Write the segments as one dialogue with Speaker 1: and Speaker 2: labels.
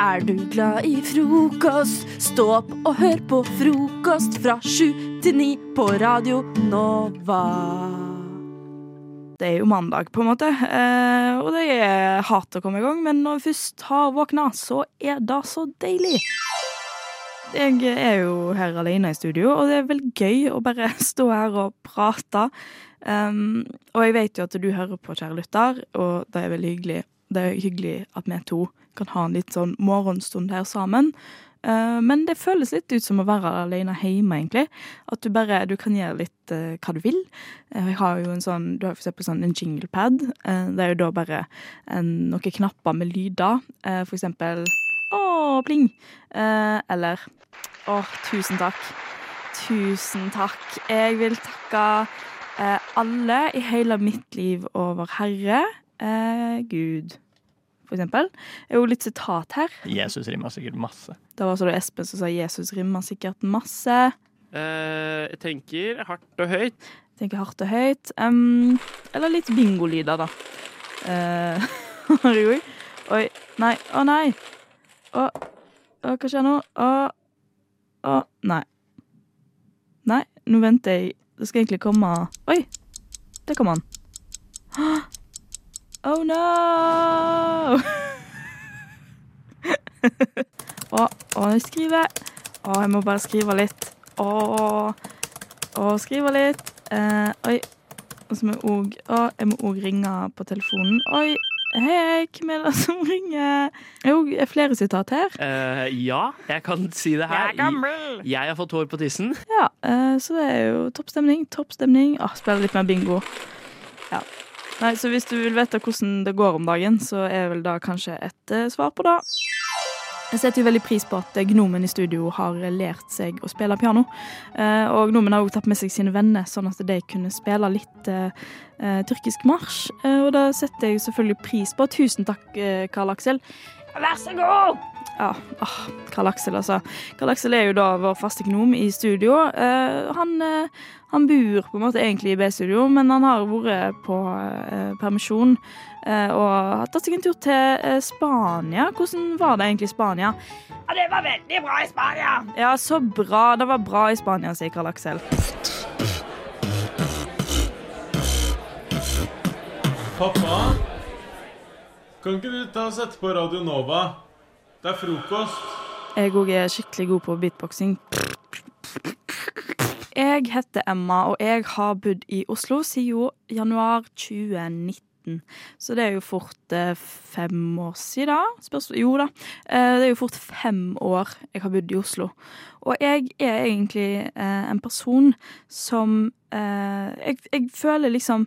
Speaker 1: Er du glad i frokost? Stå opp og hør på frokost fra sju til ni på Radio Nova.
Speaker 2: Det er jo mandag, på en måte, eh, og det er hardt å komme i gang, men når vi først har våkna, så er det så deilig. Jeg er jo her alene i studio, og det er vel gøy å bare stå her og prate. Um, og jeg vet jo at du hører på, kjære lytter, og det er veldig hyggelig. Det er hyggelig at vi to kan ha en litt sånn morgenstund her sammen. Eh, men det føles litt ut som å være alene hjemme, egentlig. At du bare du kan gjøre litt eh, hva du vil. Eh, jeg har jo en sånn, du har for eksempel sånn en jinglepad. Eh, det er jo da bare en, noen knapper med lyder. Eh, for eksempel Å, pling! Eh, eller Å, tusen takk. Tusen takk. Jeg vil takke eh, alle i hele mitt liv over Herre, eh, Gud, for eksempel. Det er jo litt sitat her.
Speaker 3: Jesus rimer sikkert masse.
Speaker 2: Det var så det Espen som sa Jesus rimmer sikkert masse.
Speaker 4: Eh, jeg tenker hardt og høyt.
Speaker 2: Tenker hardt og høyt. Um, eller litt bingolyder, da. Eh, har jeg jo. Oi. Nei. Å, nei. Å, å, hva skjer nå? Å, å, nei. Nei, nå venter jeg. Det skal egentlig komme Oi! Der kom han. Hå! Oh no! Å, å, jeg skriver. Å, jeg må bare skrive litt. Å og skrive litt. Eh, oi. Og så må jeg òg Å, jeg må òg ringe på telefonen. Oi. Hei, hvem er det som ringer? Jo, er flere sitat her.
Speaker 4: Eh, ja, jeg kan si det her.
Speaker 2: gammel!
Speaker 4: Jeg har fått hår på tissen.
Speaker 2: Ja, eh, så det er jo toppstemning. Toppstemning. Åh, Ah, spiller litt mer bingo. Ja. Nei, så hvis du vil vite hvordan det går om dagen, så er vel da kanskje et eh, svar på det. Jeg setter jo veldig pris på at eh, Gnomen i studio har lært seg å spille piano. Eh, Og Gnomen har også tatt med seg sine venner, sånn at de kunne spille litt eh, eh, tyrkisk marsj. Eh, Og det setter jeg jo selvfølgelig pris på. Tusen takk, eh, Karl Aksel. Vær så god! Ja, åh, Karl Aksel, altså. Karl Aksel er jo da vår faste gnom i studio. Eh, han, eh, han bor på en måte egentlig i B-studio, men han har vært på eh, permisjon eh, og har tatt seg en tur til eh, Spania. Hvordan var det egentlig i Spania? Ja, Det var veldig bra i Spania! Ja, så bra. Det var bra i Spania, sier Karl Aksel.
Speaker 5: Pappa? Kan ikke du ta og sette på Radio Nova? Det er frokost.
Speaker 2: Jeg òg er skikkelig god på beatboxing. Jeg heter Emma, og jeg har bodd i Oslo siden jo januar 2019. Så det er jo fort eh, fem år siden. Spørs, jo da. Eh, Det er jo fort fem år jeg har bodd i Oslo. Og jeg er egentlig eh, en person som eh, jeg, jeg føler liksom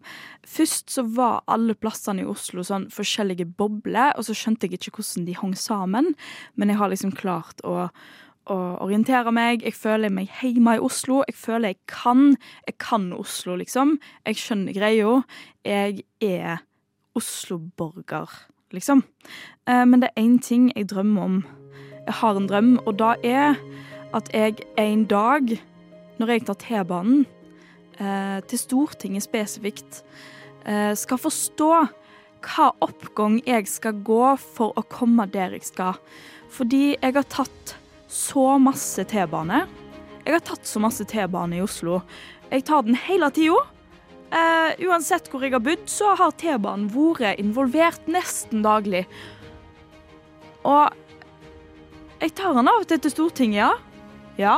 Speaker 2: Først så var alle plassene i Oslo sånn forskjellige bobler, og så skjønte jeg ikke hvordan de hang sammen. Men jeg har liksom klart å, å orientere meg. Jeg føler meg hjemme i Oslo. Jeg føler jeg kan. Jeg kan Oslo, liksom. Jeg skjønner greia. Jeg er Oslo-borger, liksom. Eh, Men det er én ting jeg drømmer om. Jeg har en drøm, og da er at jeg en dag, når jeg tar T-banen, eh, til Stortinget spesifikt, eh, skal forstå hva oppgang jeg skal gå for å komme der jeg skal. Fordi jeg har tatt så masse T-bane. Jeg har tatt så masse T-bane i Oslo. Jeg tar den hele tida. Eh, uansett hvor jeg har bodd, så har T-banen vært involvert nesten daglig. Og jeg tar den av og til til Stortinget, ja. Ja,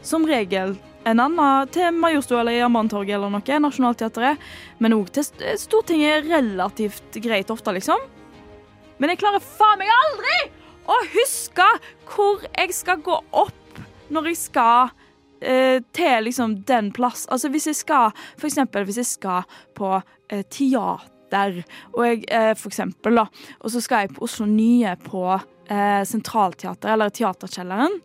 Speaker 2: som regel. En annen til Majorstua eller Jernbanetorget eller noe, Nationaltheatret. Men òg til St- Stortinget er relativt greit ofte, liksom. Men jeg klarer faen meg aldri å huske hvor jeg skal gå opp når jeg skal eh, til liksom den plass. Altså hvis jeg skal, for eksempel hvis jeg skal på eh, teater, og jeg, eh, for eksempel da, og så skal jeg på Oslo Nye på eh, Sentralteater, eller Teaterkjelleren,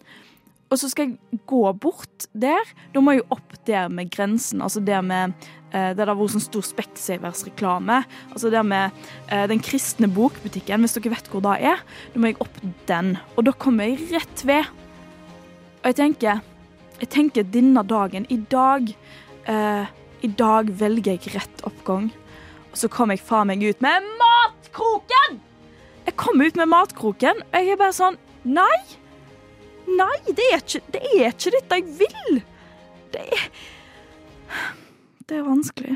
Speaker 2: og så skal jeg gå bort der. Da må jeg jo opp der med grensen, altså der med eh, det der har vært sånn stor Specsavers-reklame. Altså der med eh, den kristne bokbutikken, hvis dere vet hvor det er. Da må jeg opp den, og da kommer jeg rett ved. Og jeg tenker, jeg tenker denne dagen, i dag, eh, i dag velger jeg rett oppgang. Og så kom jeg faen meg ut med matkroken! Jeg kom ut med matkroken, og jeg er bare sånn Nei! Nei, det er ikke, det er ikke dette jeg vil! Det er Det er vanskelig.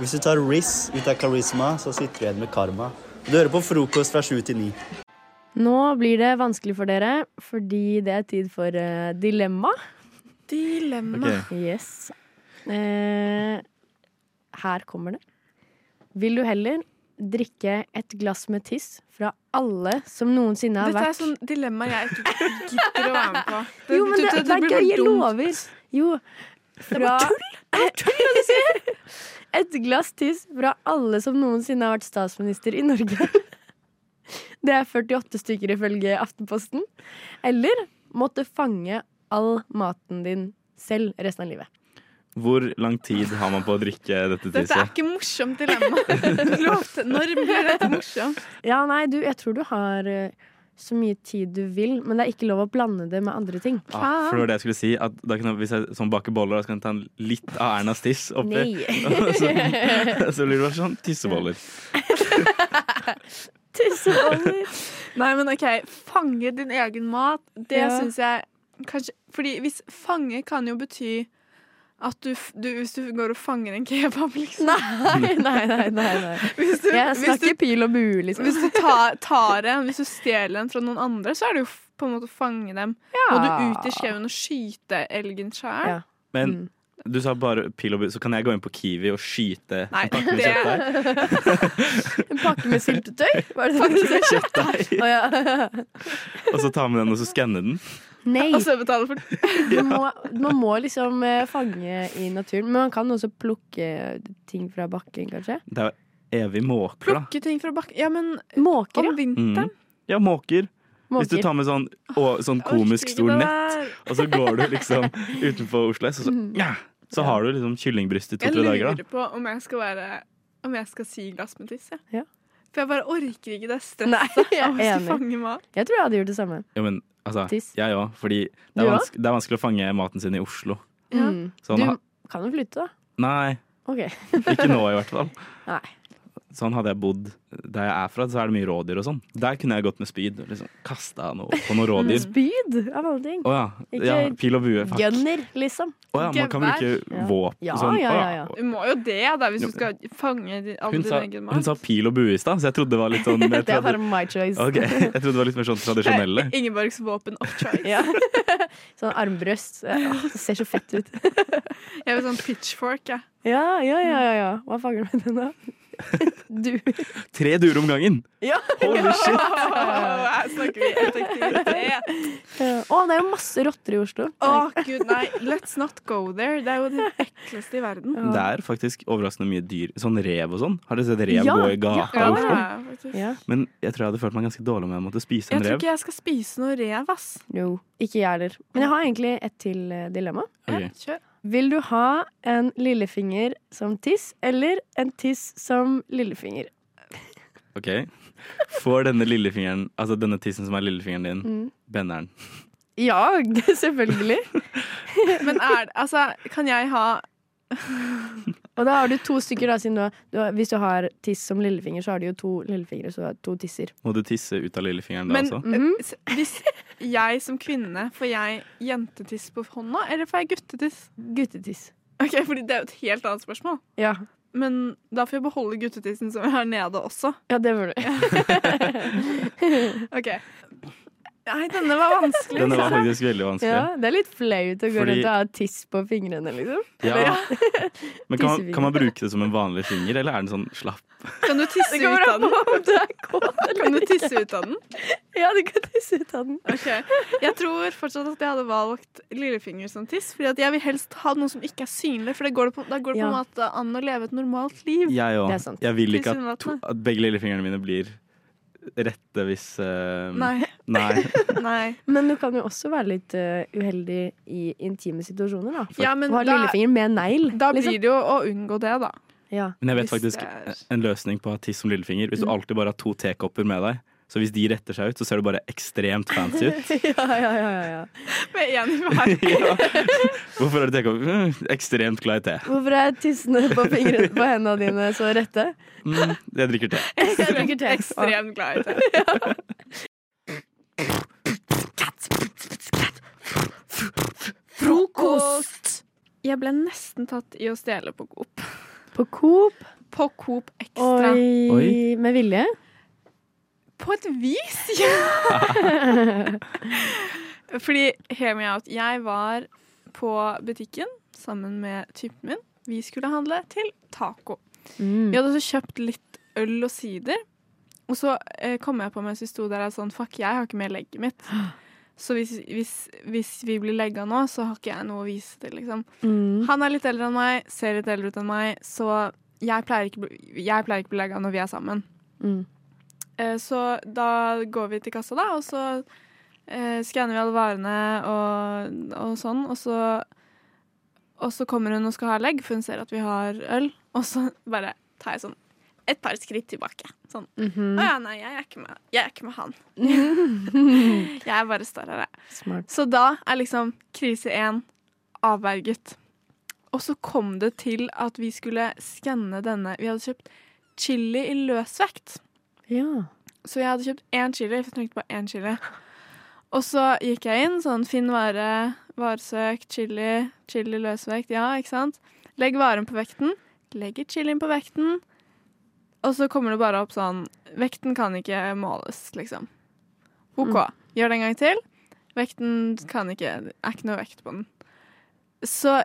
Speaker 3: Hvis du tar Riz ut av karisma, så sitter du igjen med karma. Du hører på frokost fra sju til ni.
Speaker 6: Nå blir det vanskelig for dere, fordi det er tid for eh, dilemma.
Speaker 7: Dilemma.
Speaker 6: Yes. Eh, her kommer det. Vil du heller drikke et glass med tiss fra alle som noensinne har
Speaker 7: Dette er
Speaker 6: vært
Speaker 7: sånn dilemma jeg ikke gidder å være med på.
Speaker 6: Jo, men det,
Speaker 7: det- det
Speaker 6: det er
Speaker 7: blir
Speaker 6: gøy, jeg
Speaker 7: for dumt.
Speaker 6: lover. Jo. Fra, det var tull! Et glass tiss fra alle som noensinne har vært statsminister i Norge. Det er 48 stykker ifølge Aftenposten. Eller måtte fange all maten din selv resten av livet.
Speaker 8: Hvor lang tid har man på å drikke dette
Speaker 7: Dette er
Speaker 8: tisset?
Speaker 7: ikke morsomt dilemma. Lov til- Når blir dette morsomt?
Speaker 6: Ja, nei, du, jeg tror du har eh, så mye tid du vil, men det er ikke lov å blande det med andre ting.
Speaker 8: Ah, for det var det jeg skulle si. At da kan jeg, hvis jeg sånn baker boller, da kan jeg ta en litt av Ernas tiss oppi. Og så, så blir det bare sånn tisseboller.
Speaker 6: Tisseballer.
Speaker 7: Nei, men OK. Fange din egen mat, det
Speaker 6: Ja.
Speaker 7: syns jeg kanskje Fordi hvis fange kan jo bety at du, f- du Hvis du går og fanger en kebab, liksom.
Speaker 6: Nei, nei, nei. nei, nei.
Speaker 7: Hvis du,
Speaker 6: Jeg
Speaker 7: hvis du,
Speaker 6: snakker pil og bue, liksom.
Speaker 7: hvis du tar, tar en, hvis du stjeler en fra noen andre, så er det jo f- på en måte å fange dem. Må du ut i skauen og skyte elgen sjøl?
Speaker 6: Ja.
Speaker 8: Men
Speaker 6: Mm.
Speaker 8: du sa bare pil og bue, så kan jeg gå inn på Kiwi og skyte
Speaker 7: Nei,
Speaker 8: en pakke med
Speaker 7: det-
Speaker 8: kjøttdeig?
Speaker 6: En pakke med syltetøy? Var det det du sa?
Speaker 8: Kjøttdeig.
Speaker 6: Å, ja.
Speaker 8: Og så ta med den og så skanne den?
Speaker 6: Nei,
Speaker 7: Og så betale for
Speaker 6: du må, man må liksom eh, fange i naturen. Men man kan også plukke ting fra bakken, kanskje.
Speaker 8: Det er jo evig måker, da.
Speaker 7: plukke ting fra bakken. Ja, men
Speaker 6: Måker,
Speaker 7: om
Speaker 6: ja.
Speaker 7: vinteren
Speaker 8: Mm. Ja, måker. Hvis du
Speaker 6: Måker.
Speaker 8: tar med sånn, og, sånn komisk stor nett, og så går du liksom utenfor Oslo S, og så, ja, så har du liksom kyllingbryst i
Speaker 7: Mm. Jeg
Speaker 8: to-tre dager.
Speaker 7: lurer
Speaker 8: da.
Speaker 7: på om jeg skal være Om jeg skal si glass med tiss, jeg.
Speaker 6: Ja.
Speaker 7: For jeg bare orker ikke det stresset
Speaker 6: Nei, jeg
Speaker 7: av å
Speaker 6: er
Speaker 7: skulle
Speaker 6: enig.
Speaker 7: fange mat.
Speaker 6: Jeg tror jeg hadde gjort det samme.
Speaker 8: Ja, men altså,
Speaker 6: Tiss.
Speaker 8: jeg òg, fordi det
Speaker 6: Du
Speaker 8: er,
Speaker 6: òg?
Speaker 8: vanske, det er vanskelig å fange maten sin i Oslo.
Speaker 7: Ja.
Speaker 6: Mm.
Speaker 8: Sånn, ha-
Speaker 6: Du kan jo flytte, da.
Speaker 8: nei,
Speaker 6: OK.
Speaker 8: ikke nå i hvert fall.
Speaker 6: Nei.
Speaker 8: Sånn hadde jeg bodd der jeg er fra, så er det mye rådyr og sånn. Der kunne jeg gått med spyd og liksom kasta noe på noen rådyr.
Speaker 6: Spyd, av alle ting.
Speaker 8: Å ja.
Speaker 6: Mm. Ikke
Speaker 8: ja. Pil og bue. Fuck.
Speaker 6: Gunner, liksom.
Speaker 8: Å ja, man kan bruke
Speaker 6: Ja.
Speaker 8: våpen
Speaker 6: Ja,
Speaker 8: sånn.
Speaker 6: ja,
Speaker 8: Å
Speaker 6: ja, ja.
Speaker 7: Du må jo det, da, hvis
Speaker 8: Jo.
Speaker 7: du skal fange din- all
Speaker 8: Hun
Speaker 7: din
Speaker 8: sa,
Speaker 7: egen
Speaker 8: hun
Speaker 7: mat.
Speaker 8: sa pil og bue i stad, så jeg trodde det var litt sånn mer
Speaker 6: Det er
Speaker 8: tradi-
Speaker 6: bare my choice.
Speaker 8: Ok, Jeg trodde det var litt mer sånn
Speaker 7: Det er
Speaker 8: tradisjonelle.
Speaker 7: Ingeborgs våpen of choice.
Speaker 6: Ja. Sånn armbrøst. Åh, Det ser så fett ut.
Speaker 7: Jeg vil sånn pitchfork, jeg.
Speaker 6: Ja, ja, ja. ja, ja. Hva fanger du med den, da? Du.
Speaker 8: Tre duer om gangen!
Speaker 6: Ja.
Speaker 8: Holy shit!
Speaker 7: Her snakker vi effektivitet.
Speaker 6: Å, det er jo masse rotter i Oslo.
Speaker 7: Å, gud, nei. Let's not go there. Det er jo det ekleste i verden.
Speaker 6: Ja.
Speaker 8: Det er faktisk overraskende mye dyr. Sånn rev og sånn. Har dere sett rev
Speaker 6: Ja,
Speaker 8: gå i gata?
Speaker 7: Ja,
Speaker 8: i
Speaker 7: det
Speaker 8: Oslo?
Speaker 7: er jeg faktisk.
Speaker 6: Ja.
Speaker 8: Men jeg tror jeg hadde følt meg ganske dårlig om jeg måtte spise
Speaker 7: Jeg
Speaker 8: en
Speaker 7: tror
Speaker 8: rev.
Speaker 7: ikke jeg skal spise noe rev, ass.
Speaker 6: Jo, ikke jeg heller. Men jeg har egentlig et til eh, dilemma.
Speaker 8: Ok.
Speaker 7: Kjør.
Speaker 6: Vil du ha en lillefinger som tiss, eller en tiss som lillefinger?
Speaker 8: ok. Får denne lillefingeren, altså denne tissen som er lillefingeren din,
Speaker 6: Mm.
Speaker 8: benderen?
Speaker 6: Ja, det- selvfølgelig.
Speaker 7: Men er det Altså, kan jeg ha
Speaker 6: Og da har du to stykker, da, siden du har, du har Hvis du har tiss som lillefinger, så har du jo to lillefingre, så du har to tisser.
Speaker 8: Må du tisse ut av lillefingeren da
Speaker 7: Men eh,
Speaker 8: også?
Speaker 6: Mhm.
Speaker 7: s- hvis jeg som kvinne får jeg jentetiss på hånda, eller får jeg guttetiss?
Speaker 6: Guttetiss.
Speaker 7: Ok, fordi det er jo et helt annet spørsmål.
Speaker 6: Ja.
Speaker 7: Men da får jeg beholde guttetissen som jeg har nede også.
Speaker 6: ja, det var det.
Speaker 7: Ok. Nei, denne var vanskelig.
Speaker 8: Denne var faktisk veldig vanskelig.
Speaker 6: Ja, det er litt flaut å gå
Speaker 8: Fordi-
Speaker 6: rundt og ha tiss på fingrene, liksom.
Speaker 8: Ja. Men kan man,
Speaker 6: Tissefinger.
Speaker 8: kan man bruke det som en vanlig finger, eller er den sånn slapp?
Speaker 7: Kan du tisse
Speaker 6: Det går
Speaker 7: ut av
Speaker 6: an
Speaker 7: den?
Speaker 6: på om du er kåt eller
Speaker 7: Kan du tisse ut av den?
Speaker 6: Ja, du kan tisse ut av den.
Speaker 7: Ok. Jeg tror fortsatt at jeg hadde valgt lillefinger som tiss, fordi at jeg vil helst ha noe som ikke er synlig, for det går det på, da går det på
Speaker 6: Ja.
Speaker 7: en måte an å leve et normalt liv.
Speaker 8: Jeg
Speaker 6: Det er
Speaker 8: òg.
Speaker 6: sant.
Speaker 8: Jeg vil ikke at, to,
Speaker 7: Tilsynelatende.
Speaker 8: at begge lillefingrene mine blir rette hvis eh,
Speaker 7: Nei.
Speaker 8: nei.
Speaker 7: Nei.
Speaker 6: Men du kan jo også være litt eh, uheldig i intime situasjoner, da.
Speaker 7: Ja, men
Speaker 6: Og ha
Speaker 7: da,
Speaker 6: lillefinger med negl.
Speaker 7: da
Speaker 6: liksom.
Speaker 7: blir det jo å unngå det, da.
Speaker 6: ja.
Speaker 8: Men jeg vet
Speaker 7: Hvis
Speaker 8: faktisk
Speaker 7: det er-
Speaker 8: en løsning på å ha tiss som lillefinger. Hvis du
Speaker 3: Mm.
Speaker 8: alltid bare har to tekopper med deg, så hvis de retter seg ut, så ser du bare ekstremt fancy ut.
Speaker 6: ja, ja, ja, ja, ja.
Speaker 7: Med én i hver.
Speaker 8: ja. Hvorfor har du tekopper? Mm, Ekstremt glad i te.
Speaker 6: Hvorfor er tissene på fingrene på hendene dine så rette?
Speaker 8: Mm, jeg drikker te.
Speaker 6: Jeg drikker te.
Speaker 7: Ekstremt glad i det. Jeg ble nesten tatt i å stjele på Coop.
Speaker 6: På Coop.
Speaker 7: På Coop Extra.
Speaker 6: Oi.
Speaker 8: Oi.
Speaker 6: Med vilje?
Speaker 7: På et vis, ja! Fordi, hear me out, jeg var på butikken sammen med typen min. Vi skulle handle til taco. Vi
Speaker 6: Mm.
Speaker 7: hadde også kjøpt litt øl og sider. Og så eh, kom jeg på mens vi sto der at sånn, fuck, jeg har ikke med legget mitt. Så hvis, hvis, hvis vi blir legga nå, så har ikke jeg noe å vise til, liksom.
Speaker 6: Mm.
Speaker 7: Han er litt eldre enn meg, ser litt eldre ut enn meg, så jeg pleier ikke, bli- jeg pleier ikke å bli legga når vi er sammen.
Speaker 6: Mm.
Speaker 7: Eh, Så da går vi til kassa, da, og så eh, skanner vi alle varene og, og sånn, og så og så kommer hun og skal ha legg, for hun ser at vi har øl. Og så bare tar jeg sånn et par skritt tilbake. Sånn.
Speaker 6: Mhm.
Speaker 7: Å ja, nei, jeg er ikke med, jeg er ikke med han. jeg bare står her, jeg.
Speaker 6: Smart.
Speaker 7: Så da er liksom krise én avverget. Og så kom det til at vi skulle skanne denne. Vi hadde kjøpt chili i løsvekt.
Speaker 6: Ja.
Speaker 7: Så jeg hadde kjøpt én chili, for jeg trengte bare én chili. Og så gikk jeg inn, sånn finn vare, varesøk, chili, chili løsvekt, ja, ikke sant? Legg varen på vekten, legger chilien på vekten, og så kommer det bare opp sånn, vekten kan ikke måles, liksom. Ok, gjør det en gang til. Vekten kan ikke, er ikke noe vekt på den. Så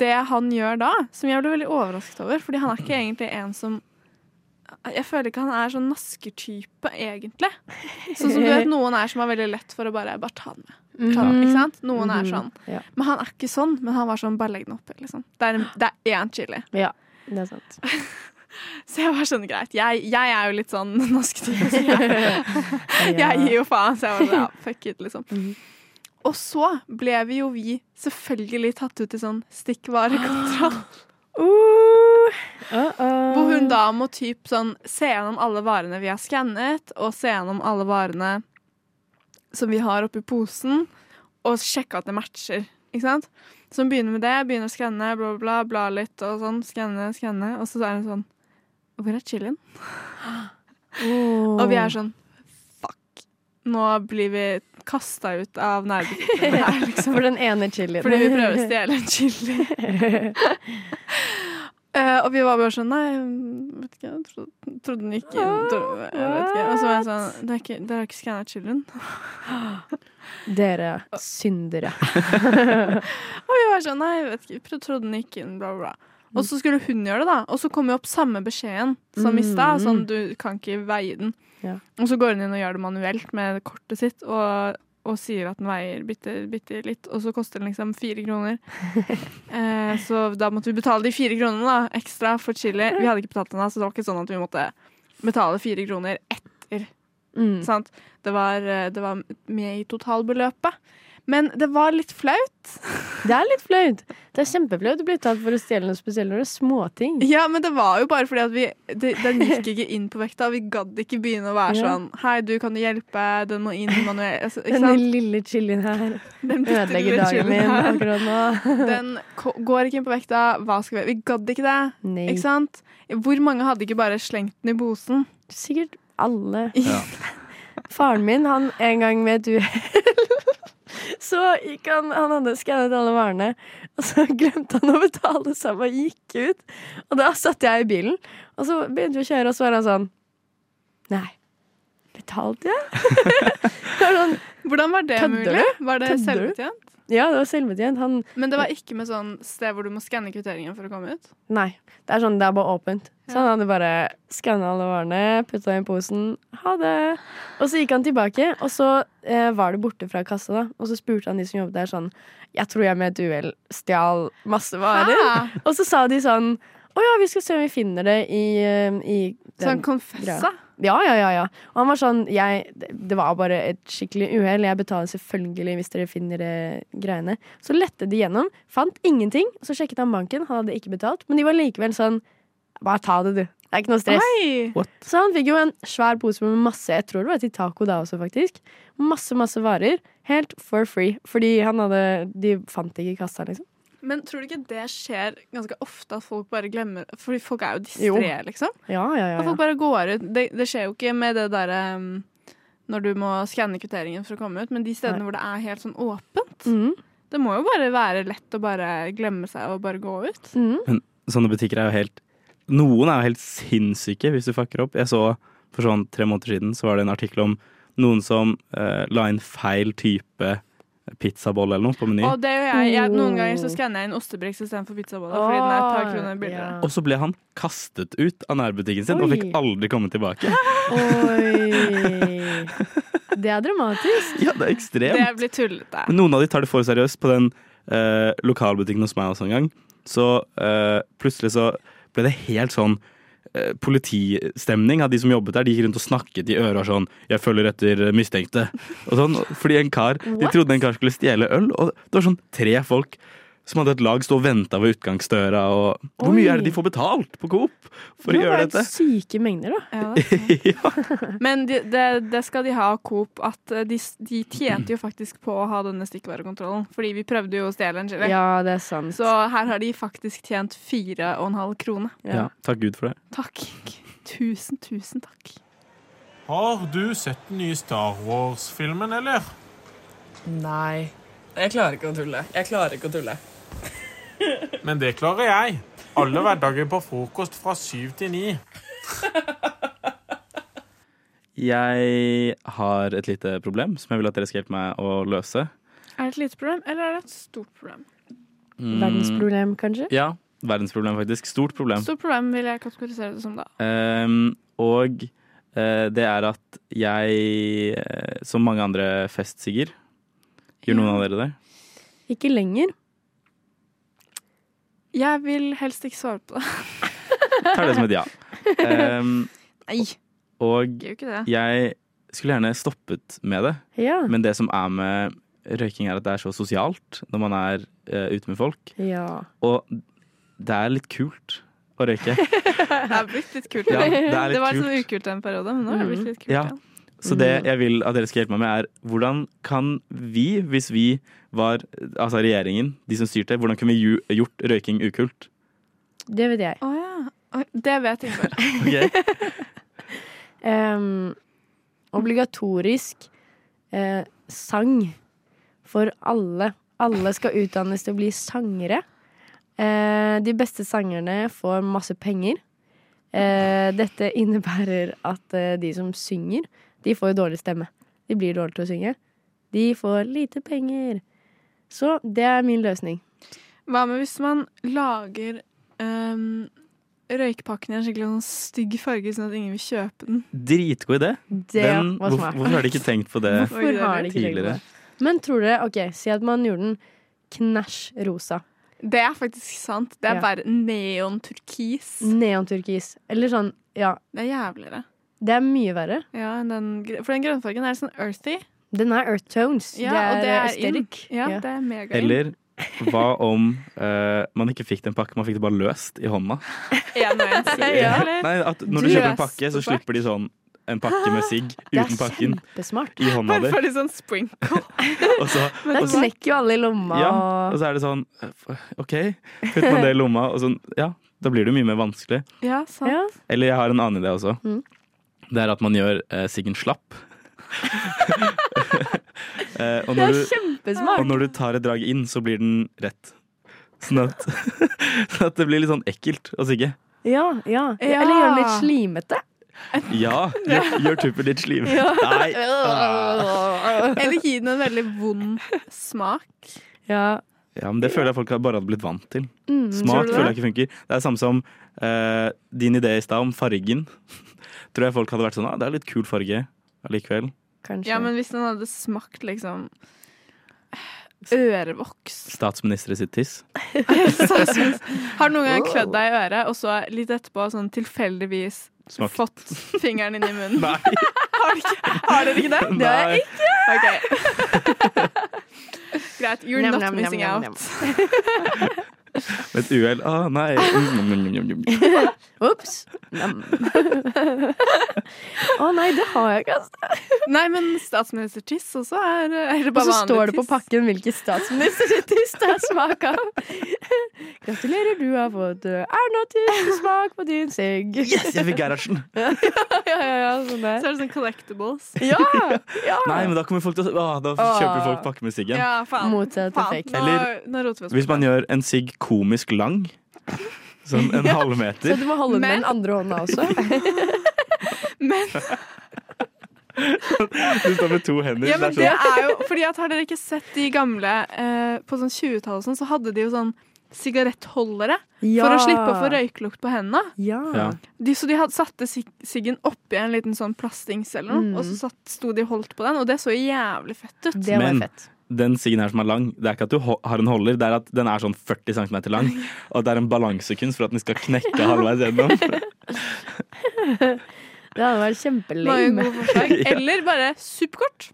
Speaker 7: det han gjør da, som jeg ble veldig overrasket over, fordi han er ikke egentlig en som jeg føler ikke han er sånn naskertype, egentlig. Sånn som du vet noen er som er veldig lett for å bare, bare ta den med. Ta den, ikke sant? Noen er sånn.
Speaker 6: Ja.
Speaker 7: Men han er ikke sånn, men han var sånn, bare legg den oppi, liksom. Det er, det er én chili.
Speaker 6: Ja, det er sant.
Speaker 7: Så jeg var sånn, greit. Jeg, jeg er jo litt sånn nasketype, så jeg, jeg gir jo faen. Så jeg var sånn, ja, fuck it, liksom. Og så ble vi jo vi selvfølgelig tatt ut i sånn stikkvarekontroll.
Speaker 6: Uh, uh-oh.
Speaker 7: Hvor hun da må typ sånn se gjennom alle varene vi har skannet, og se gjennom alle varene som vi har oppi posen, og sjekke at det matcher. Ikke sant? Så hun begynner med det, begynner å skanne, bla, bla, bla, bla litt og sånn. Skanne, skanne. Og så er hun sånn Hvor er chilien?
Speaker 6: Oh.
Speaker 7: Og vi er sånn Fuck. Nå blir vi kasta ut av nærbutikken her, liksom.
Speaker 6: For den ene chilien.
Speaker 7: Fordi vi prøver å stjele en chili. Eh, og vi var bare sånn Nei, vet ikke, jeg trodde, trodde den gikk inn. Trodde, jeg vet ikke. Og så var jeg sånn Dere har ikke, dere har ikke skanna chilien?
Speaker 6: Dere syndere.
Speaker 7: Og vi var sånn Nei, jeg vet ikke, jeg trodde den gikk inn, bla, bla. bla. Og så skulle hun gjøre det, da. Og så kom jo opp samme beskjeden som i stad. Sånn, du kan ikke veie den.
Speaker 6: Ja.
Speaker 7: Og så går hun inn og gjør det manuelt med kortet sitt. Og, og sier at den veier bitte, bitte litt, og så koster den liksom fire kroner. eh, så da måtte vi betale de fire kronene da, ekstra for chili. Vi hadde ikke betalt den da, så det var ikke sånn at vi måtte betale fire kroner etter.
Speaker 6: Mm.
Speaker 7: Sant? Det, var, eh, det var med i totalbeløpet. Men det var litt flaut.
Speaker 6: Det er litt flaut. Det er kjempeflaut å bli tatt for å stjele noe spesielt når det er småting.
Speaker 7: Ja, men det var jo bare fordi at vi det, Den gikk ikke inn på vekta. Vi gadd ikke begynne å være
Speaker 6: Ja.
Speaker 7: sånn Hei, du, kan du hjelpe? Den må inn manuelt. Altså, ikke
Speaker 6: Denne
Speaker 7: sant?
Speaker 6: lille chilien her
Speaker 7: Den bitte
Speaker 6: ødelegger
Speaker 7: lille
Speaker 6: dagen
Speaker 7: chilien
Speaker 6: min
Speaker 7: her.
Speaker 6: akkurat nå.
Speaker 7: Den ko- går ikke inn på vekta. Hva skal vi Vi gadd ikke det.
Speaker 6: Nei.
Speaker 7: Ikke sant? Hvor mange hadde ikke bare slengt den i posen?
Speaker 6: Sikkert alle.
Speaker 7: Ja.
Speaker 6: Faren min, han en gang ved et uhell Så gikk han Han hadde skannet alle varene, og så glemte han å betale, så han bare gikk ut. Og da satt jeg i bilen, og så begynte vi å kjøre, og så var han sånn Nei, betalte jeg? Det var sånn,
Speaker 7: Hvordan var det
Speaker 6: Kødder
Speaker 7: mulig? Var det
Speaker 6: Kødder du?
Speaker 7: selvbetjent?
Speaker 6: ja, det var selvbetjent. Han
Speaker 7: Men det var ikke med sånn sted hvor du må skanne kvitteringen for å komme ut?
Speaker 6: Nei. Det er sånn, det er bare åpent. Så han hadde bare skanna alle varene, putta i posen, ha det. Og så gikk han tilbake, og så eh, var det borte fra kassa, da. Og så spurte han de som jobbet der sånn, jeg tror jeg med et uhell stjal masse varer.
Speaker 7: Hæ?
Speaker 6: Og så sa de sånn, å ja, vi skal se om vi finner det i, eh, i
Speaker 7: Sånn
Speaker 6: den.
Speaker 7: konfessa?
Speaker 6: Ja, ja, ja, ja. Og han var sånn, jeg, det var bare et skikkelig uhell, jeg betaler selvfølgelig hvis dere finner eh, greiene. Så lette de gjennom, fant ingenting, så sjekket han banken, han hadde ikke betalt, men de var likevel sånn, bare ta det du, det er ikke noe stress.
Speaker 7: Oi!
Speaker 6: Så han fikk jo en svær pose med masse Jeg tror det var til taco da også, faktisk. Masse, masse varer. Helt for free. Fordi han hadde De fant ikke i kassa, liksom.
Speaker 7: Men tror du ikke det skjer ganske ofte at folk bare glemmer Fordi folk er jo
Speaker 6: Jo.
Speaker 7: distré, liksom.
Speaker 6: Ja, ja, ja.
Speaker 7: At folk bare går ut. Det, det skjer jo ikke med det derre um, når du må skanne kvitteringen for å komme ut, men de stedene hvor det er helt sånn åpent,
Speaker 6: Mhm.
Speaker 7: Det må jo bare være lett å bare glemme seg og bare gå ut.
Speaker 6: Mm.
Speaker 8: Sånne butikker er jo helt Noen er jo helt sinnssyke hvis du fucker opp. Jeg så for sånn tre måneder siden så var det en artikkel om noen som eh, la inn feil type pizzabolle eller noe på menyen.
Speaker 7: Og det gjør jeg. jeg noen
Speaker 6: Oh.
Speaker 7: ganger så skanner jeg inn ostebriks istedenfor pizzaboller fordi den er et par kroner billigere.
Speaker 8: Og så ble han kastet ut av nærbutikken sin og
Speaker 6: Oi.
Speaker 8: fikk aldri komme tilbake.
Speaker 6: Oi. Det er dramatisk.
Speaker 8: Ja, det er ekstremt.
Speaker 7: Det blir tullete.
Speaker 8: Men noen av de tar det for seriøst. På den eh, lokalbutikken hos meg også en gang, så eh, plutselig så ble det helt sånn eh, politistemning av de som jobbet der. De gikk rundt og snakket i øret og sånn 'Jeg følger etter mistenkte'. Og sånn, fordi en kar, De
Speaker 6: What?
Speaker 8: trodde en kar skulle stjele øl, og det var sånn tre folk som hadde et lag stå og venta ved utgangsdøra. Og,
Speaker 6: Oi.
Speaker 8: hvor mye er det de får betalt på Coop
Speaker 6: Det var
Speaker 8: for å gjøre
Speaker 6: helt
Speaker 8: dette?
Speaker 6: Syke mengder, da.
Speaker 7: Ja, det er sant.
Speaker 8: ja.
Speaker 7: Men det de, det skal de ha av Coop, at eh, de, s- de tjente jo faktisk på å ha denne stikkvarekontrollen. Fordi vi prøvde jo å stjele en chili.
Speaker 6: Ja, det er sant.
Speaker 7: Så her har de faktisk tjent fire og en halv krone.
Speaker 8: ja, takk Gud for det.
Speaker 7: Takk. Tusen, tusen takk.
Speaker 5: Har du sett den nye Star Wars-filmen, eller?
Speaker 9: Nei. Jeg klarer ikke å tulle. Jeg klarer ikke å tulle.
Speaker 5: Men det klarer jeg. Alle hverdager på frokost fra syv til ni.
Speaker 8: Jeg har et lite problem som jeg vil at dere skal hjelpe meg å løse.
Speaker 7: Er det et lite problem, eller er det et stort problem?
Speaker 6: Verdensproblem, kanskje?
Speaker 8: Mm. Ja, verdensproblem faktisk. Stort problem.
Speaker 7: Stort problem vil jeg kategorisere det som, da.
Speaker 8: Ehm, og eh, det er at jeg, eh, som mange andre festsiger Gjør noen av dere det?
Speaker 6: Ikke lenger.
Speaker 7: Jeg vil helst ikke svare på det.
Speaker 8: Tar det som et ja. Ehm,
Speaker 7: Nei,
Speaker 8: og
Speaker 7: gjør jo ikke det.
Speaker 8: jeg skulle gjerne stoppet med det,
Speaker 6: Ja.
Speaker 8: men det som er med røyking, er at det er så sosialt når man er eh, ute med folk.
Speaker 6: ja.
Speaker 8: Og det er litt kult å røyke.
Speaker 7: Det er blitt litt kult.
Speaker 8: Ja, det er litt
Speaker 7: det var litt sånn
Speaker 8: kult.
Speaker 7: ukult en periode, men nå er det blitt litt kult
Speaker 8: Ja.
Speaker 7: igjen.
Speaker 8: Så det
Speaker 6: Mm.
Speaker 8: jeg vil at dere skal hjelpe meg med, er hvordan kan vi, hvis vi var altså regjeringen, de som styrte, hvordan kunne vi ju- gjort røyking ukult?
Speaker 6: Det vet jeg.
Speaker 7: Å ja. Oi, Det vet jeg ikke.
Speaker 8: Ok?
Speaker 6: Em, obligatorisk eh, sang for alle. Alle skal utdannes til å bli sangere. Eh, de beste sangerne får masse penger. Eh, dette innebærer at eh, de som synger, de får jo dårlig stemme. De blir dårlige til å synge. De får lite penger. Så det er min løsning.
Speaker 7: Hva med hvis man lager um, røykepakken i en skikkelig sånn stygg farge, sånn at ingen vil kjøpe den?
Speaker 8: Dritgod idé.
Speaker 6: Det
Speaker 8: Den,
Speaker 6: var
Speaker 8: hvorfor,
Speaker 6: smart.
Speaker 8: hvorfor har de ikke tenkt på det
Speaker 7: Oi,
Speaker 6: Hvorfor
Speaker 7: det er
Speaker 6: har de ikke tenkt på
Speaker 8: tidligere?
Speaker 6: det? Men tror dere OK, si at man gjorde den knæsj rosa.
Speaker 7: Det er faktisk sant. Det er
Speaker 6: Ja. Mm.
Speaker 7: bare neon-turkis.
Speaker 6: Neonturkis. Eller sånn, ja.
Speaker 7: Det er jævligere.
Speaker 6: Det er mye verre.
Speaker 7: Ja, enn den, gr- for den grønnfargen er sånn earthy.
Speaker 6: Den er earth tones.
Speaker 7: Ja, og
Speaker 6: det
Speaker 7: det
Speaker 6: er
Speaker 7: er
Speaker 6: aesthetic.
Speaker 7: Ja,
Speaker 6: Ja.
Speaker 7: det er mega inn.
Speaker 8: Eller hva om eh, man ikke fikk den pakken, man fikk det bare løst i hånda?
Speaker 7: En og en sier,
Speaker 6: Ja.
Speaker 7: eller?
Speaker 8: Nei, at når du kjøper en
Speaker 7: Løst
Speaker 8: pakke, så
Speaker 7: tobakk.
Speaker 8: slipper de sånn en pakke med sigg
Speaker 6: Det
Speaker 8: uten
Speaker 6: er
Speaker 8: pakken
Speaker 6: kjempesmart.
Speaker 8: i hånda
Speaker 7: Bare
Speaker 8: di.
Speaker 7: for litt sånn spring.
Speaker 8: Og så,
Speaker 6: Det
Speaker 8: og så,
Speaker 6: knekker jo alle i lomma.
Speaker 8: ja, og
Speaker 6: og...
Speaker 8: så er det sånn eh, OK, putter man det i lomma, og sånn Ja, da blir det jo mye mer vanskelig.
Speaker 7: Ja, sant.
Speaker 6: Ja.
Speaker 8: Eller jeg har en annen idé også.
Speaker 6: Mm.
Speaker 8: Det er at man gjør eh, siggen slapp. eh, og,
Speaker 6: Det
Speaker 8: når
Speaker 6: er
Speaker 8: du, og
Speaker 6: kjempesmart.
Speaker 8: når du tar et drag inn, så blir den rett. Sånn at, sånn at det blir litt sånn ekkelt å sigge.
Speaker 6: Ja, ja.
Speaker 7: Ja.
Speaker 6: Eller gjør den litt slimete.
Speaker 8: Ja, gjør, gjør tuppen ditt slim. Nei. Ah.
Speaker 7: Eller gi den en veldig vond smak.
Speaker 6: Ja.
Speaker 8: Ja, men Det føler jeg folk har bare hadde blitt vant til.
Speaker 6: Mm.
Speaker 8: Smak
Speaker 7: Tror du
Speaker 8: føler jeg ikke funker. Det er samme som eh, din idé i stad om fargen. Tror jeg folk hadde vært sånn ah, det er litt kul farge allikevel.
Speaker 6: Kanskje.
Speaker 7: Ja, men hvis den hadde smakt liksom ørevoks
Speaker 8: Statsminister i sitt tiss.
Speaker 7: så synes, Har du noen gang klødd deg i øret, og så litt etterpå sånn tilfeldigvis
Speaker 8: Smak.
Speaker 7: fått fingeren inn i munnen?
Speaker 8: Nei.
Speaker 7: Har, du ikke, har dere ikke det?
Speaker 8: Det har jeg
Speaker 7: ikke. Greit. You're
Speaker 6: Njam,
Speaker 7: not
Speaker 6: njam, njam,
Speaker 7: missing
Speaker 6: njam,
Speaker 7: out.
Speaker 6: njam.
Speaker 8: «Ah, Med et uhell. Å, nei. Mm, mm, mm, mm, mm.
Speaker 6: Ops. Nam. Å nei, det har jeg ikke. Altså.
Speaker 7: Nei, men statsministertiss også er Eller
Speaker 6: Og
Speaker 7: bare
Speaker 6: så
Speaker 7: vanlig
Speaker 6: står det på
Speaker 7: tiss.
Speaker 6: pakken hvilken statsminister det tiss det er smak av. Gratulerer, du har fått eh, Erna-tiss. Smak på din sigg.
Speaker 8: Yes, jeg fikk Gerhardsen!
Speaker 6: Ja, ja, ja, sånn
Speaker 7: Så
Speaker 6: der.
Speaker 7: er det sånn collectibles.
Speaker 6: Ja! ja.
Speaker 8: Nei, men da kommer folk til å ah, Da kjøper folk pakke med siggen.
Speaker 7: Ja, faen.
Speaker 6: Motsatt
Speaker 7: faen.
Speaker 6: effekt.
Speaker 7: Nå,
Speaker 8: Eller-
Speaker 7: nå roter vi oss
Speaker 8: Hvis man gjør en sigg komisk lang, sånn en
Speaker 6: Så
Speaker 8: halvmeter
Speaker 6: du må holde den med
Speaker 7: Men-
Speaker 6: den andre hånda også.
Speaker 7: Men,
Speaker 8: Du står med to hender.
Speaker 7: ja, men
Speaker 8: det
Speaker 7: det
Speaker 8: er sånn,
Speaker 7: er jo Fordi at har dere ikke sett de gamle eh, På sånn 20-tallet og sånn, så hadde de jo sånn sigarettholdere
Speaker 6: Ja.
Speaker 7: for å slippe å få røyklukt på hendene.
Speaker 6: Ja.
Speaker 8: Ja.
Speaker 7: De, så de hadde, satte sig- siggen oppi en liten sånn plastings eller noe,
Speaker 6: Mm.
Speaker 7: og så satt, sto de og holdt på den, og det så jævlig fett ut.
Speaker 6: Det var
Speaker 8: Men-
Speaker 6: fett.
Speaker 8: den siggen her som er lang, det er ikke at du ho- har en holder, det er at den er sånn 40 cm lang. Og det er en balansekunst for at den skal knekke halvveis gjennom.
Speaker 6: Det hadde vært
Speaker 7: Mange
Speaker 6: kjempelame.
Speaker 7: gode forslag.
Speaker 8: Ja.
Speaker 7: Eller bare superkort.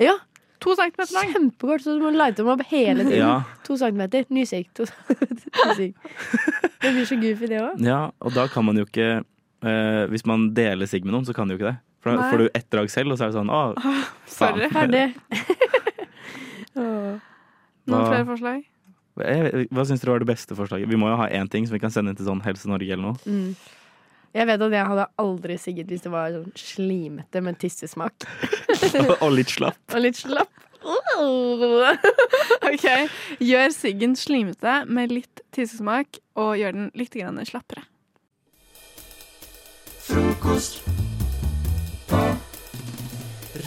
Speaker 6: Ja.
Speaker 7: To centimeter lang.
Speaker 6: Kjempekort, så du må lighte dem opp hele tiden.
Speaker 8: Ja,
Speaker 6: To centimeter, ny sigg. To centimeter, ny sigg. Det blir så goofy, det òg.
Speaker 8: ja og da kan man jo ikke eh, Hvis man deler sigg med noen, så kan du jo ikke det. For da
Speaker 7: Nei.
Speaker 8: får du ett drag selv, og så er det sånn Å,
Speaker 7: Sorry.
Speaker 6: Ferdig. Åh.
Speaker 7: Noen
Speaker 8: Hva-
Speaker 7: flere forslag?
Speaker 8: jeg- hva syns dere var det beste forslaget? Vi må jo ha én ting som vi kan sende inn til sånn Helse Norge eller noe.
Speaker 6: Mm. Jeg vet at jeg hadde aldri sigget hvis det var sånn slimete med tissesmak.
Speaker 8: og litt slapp.
Speaker 6: Og litt slapp. Åh.
Speaker 7: Ok, Gjør siggen slimete med litt tissesmak, og gjør den litt grann slappere.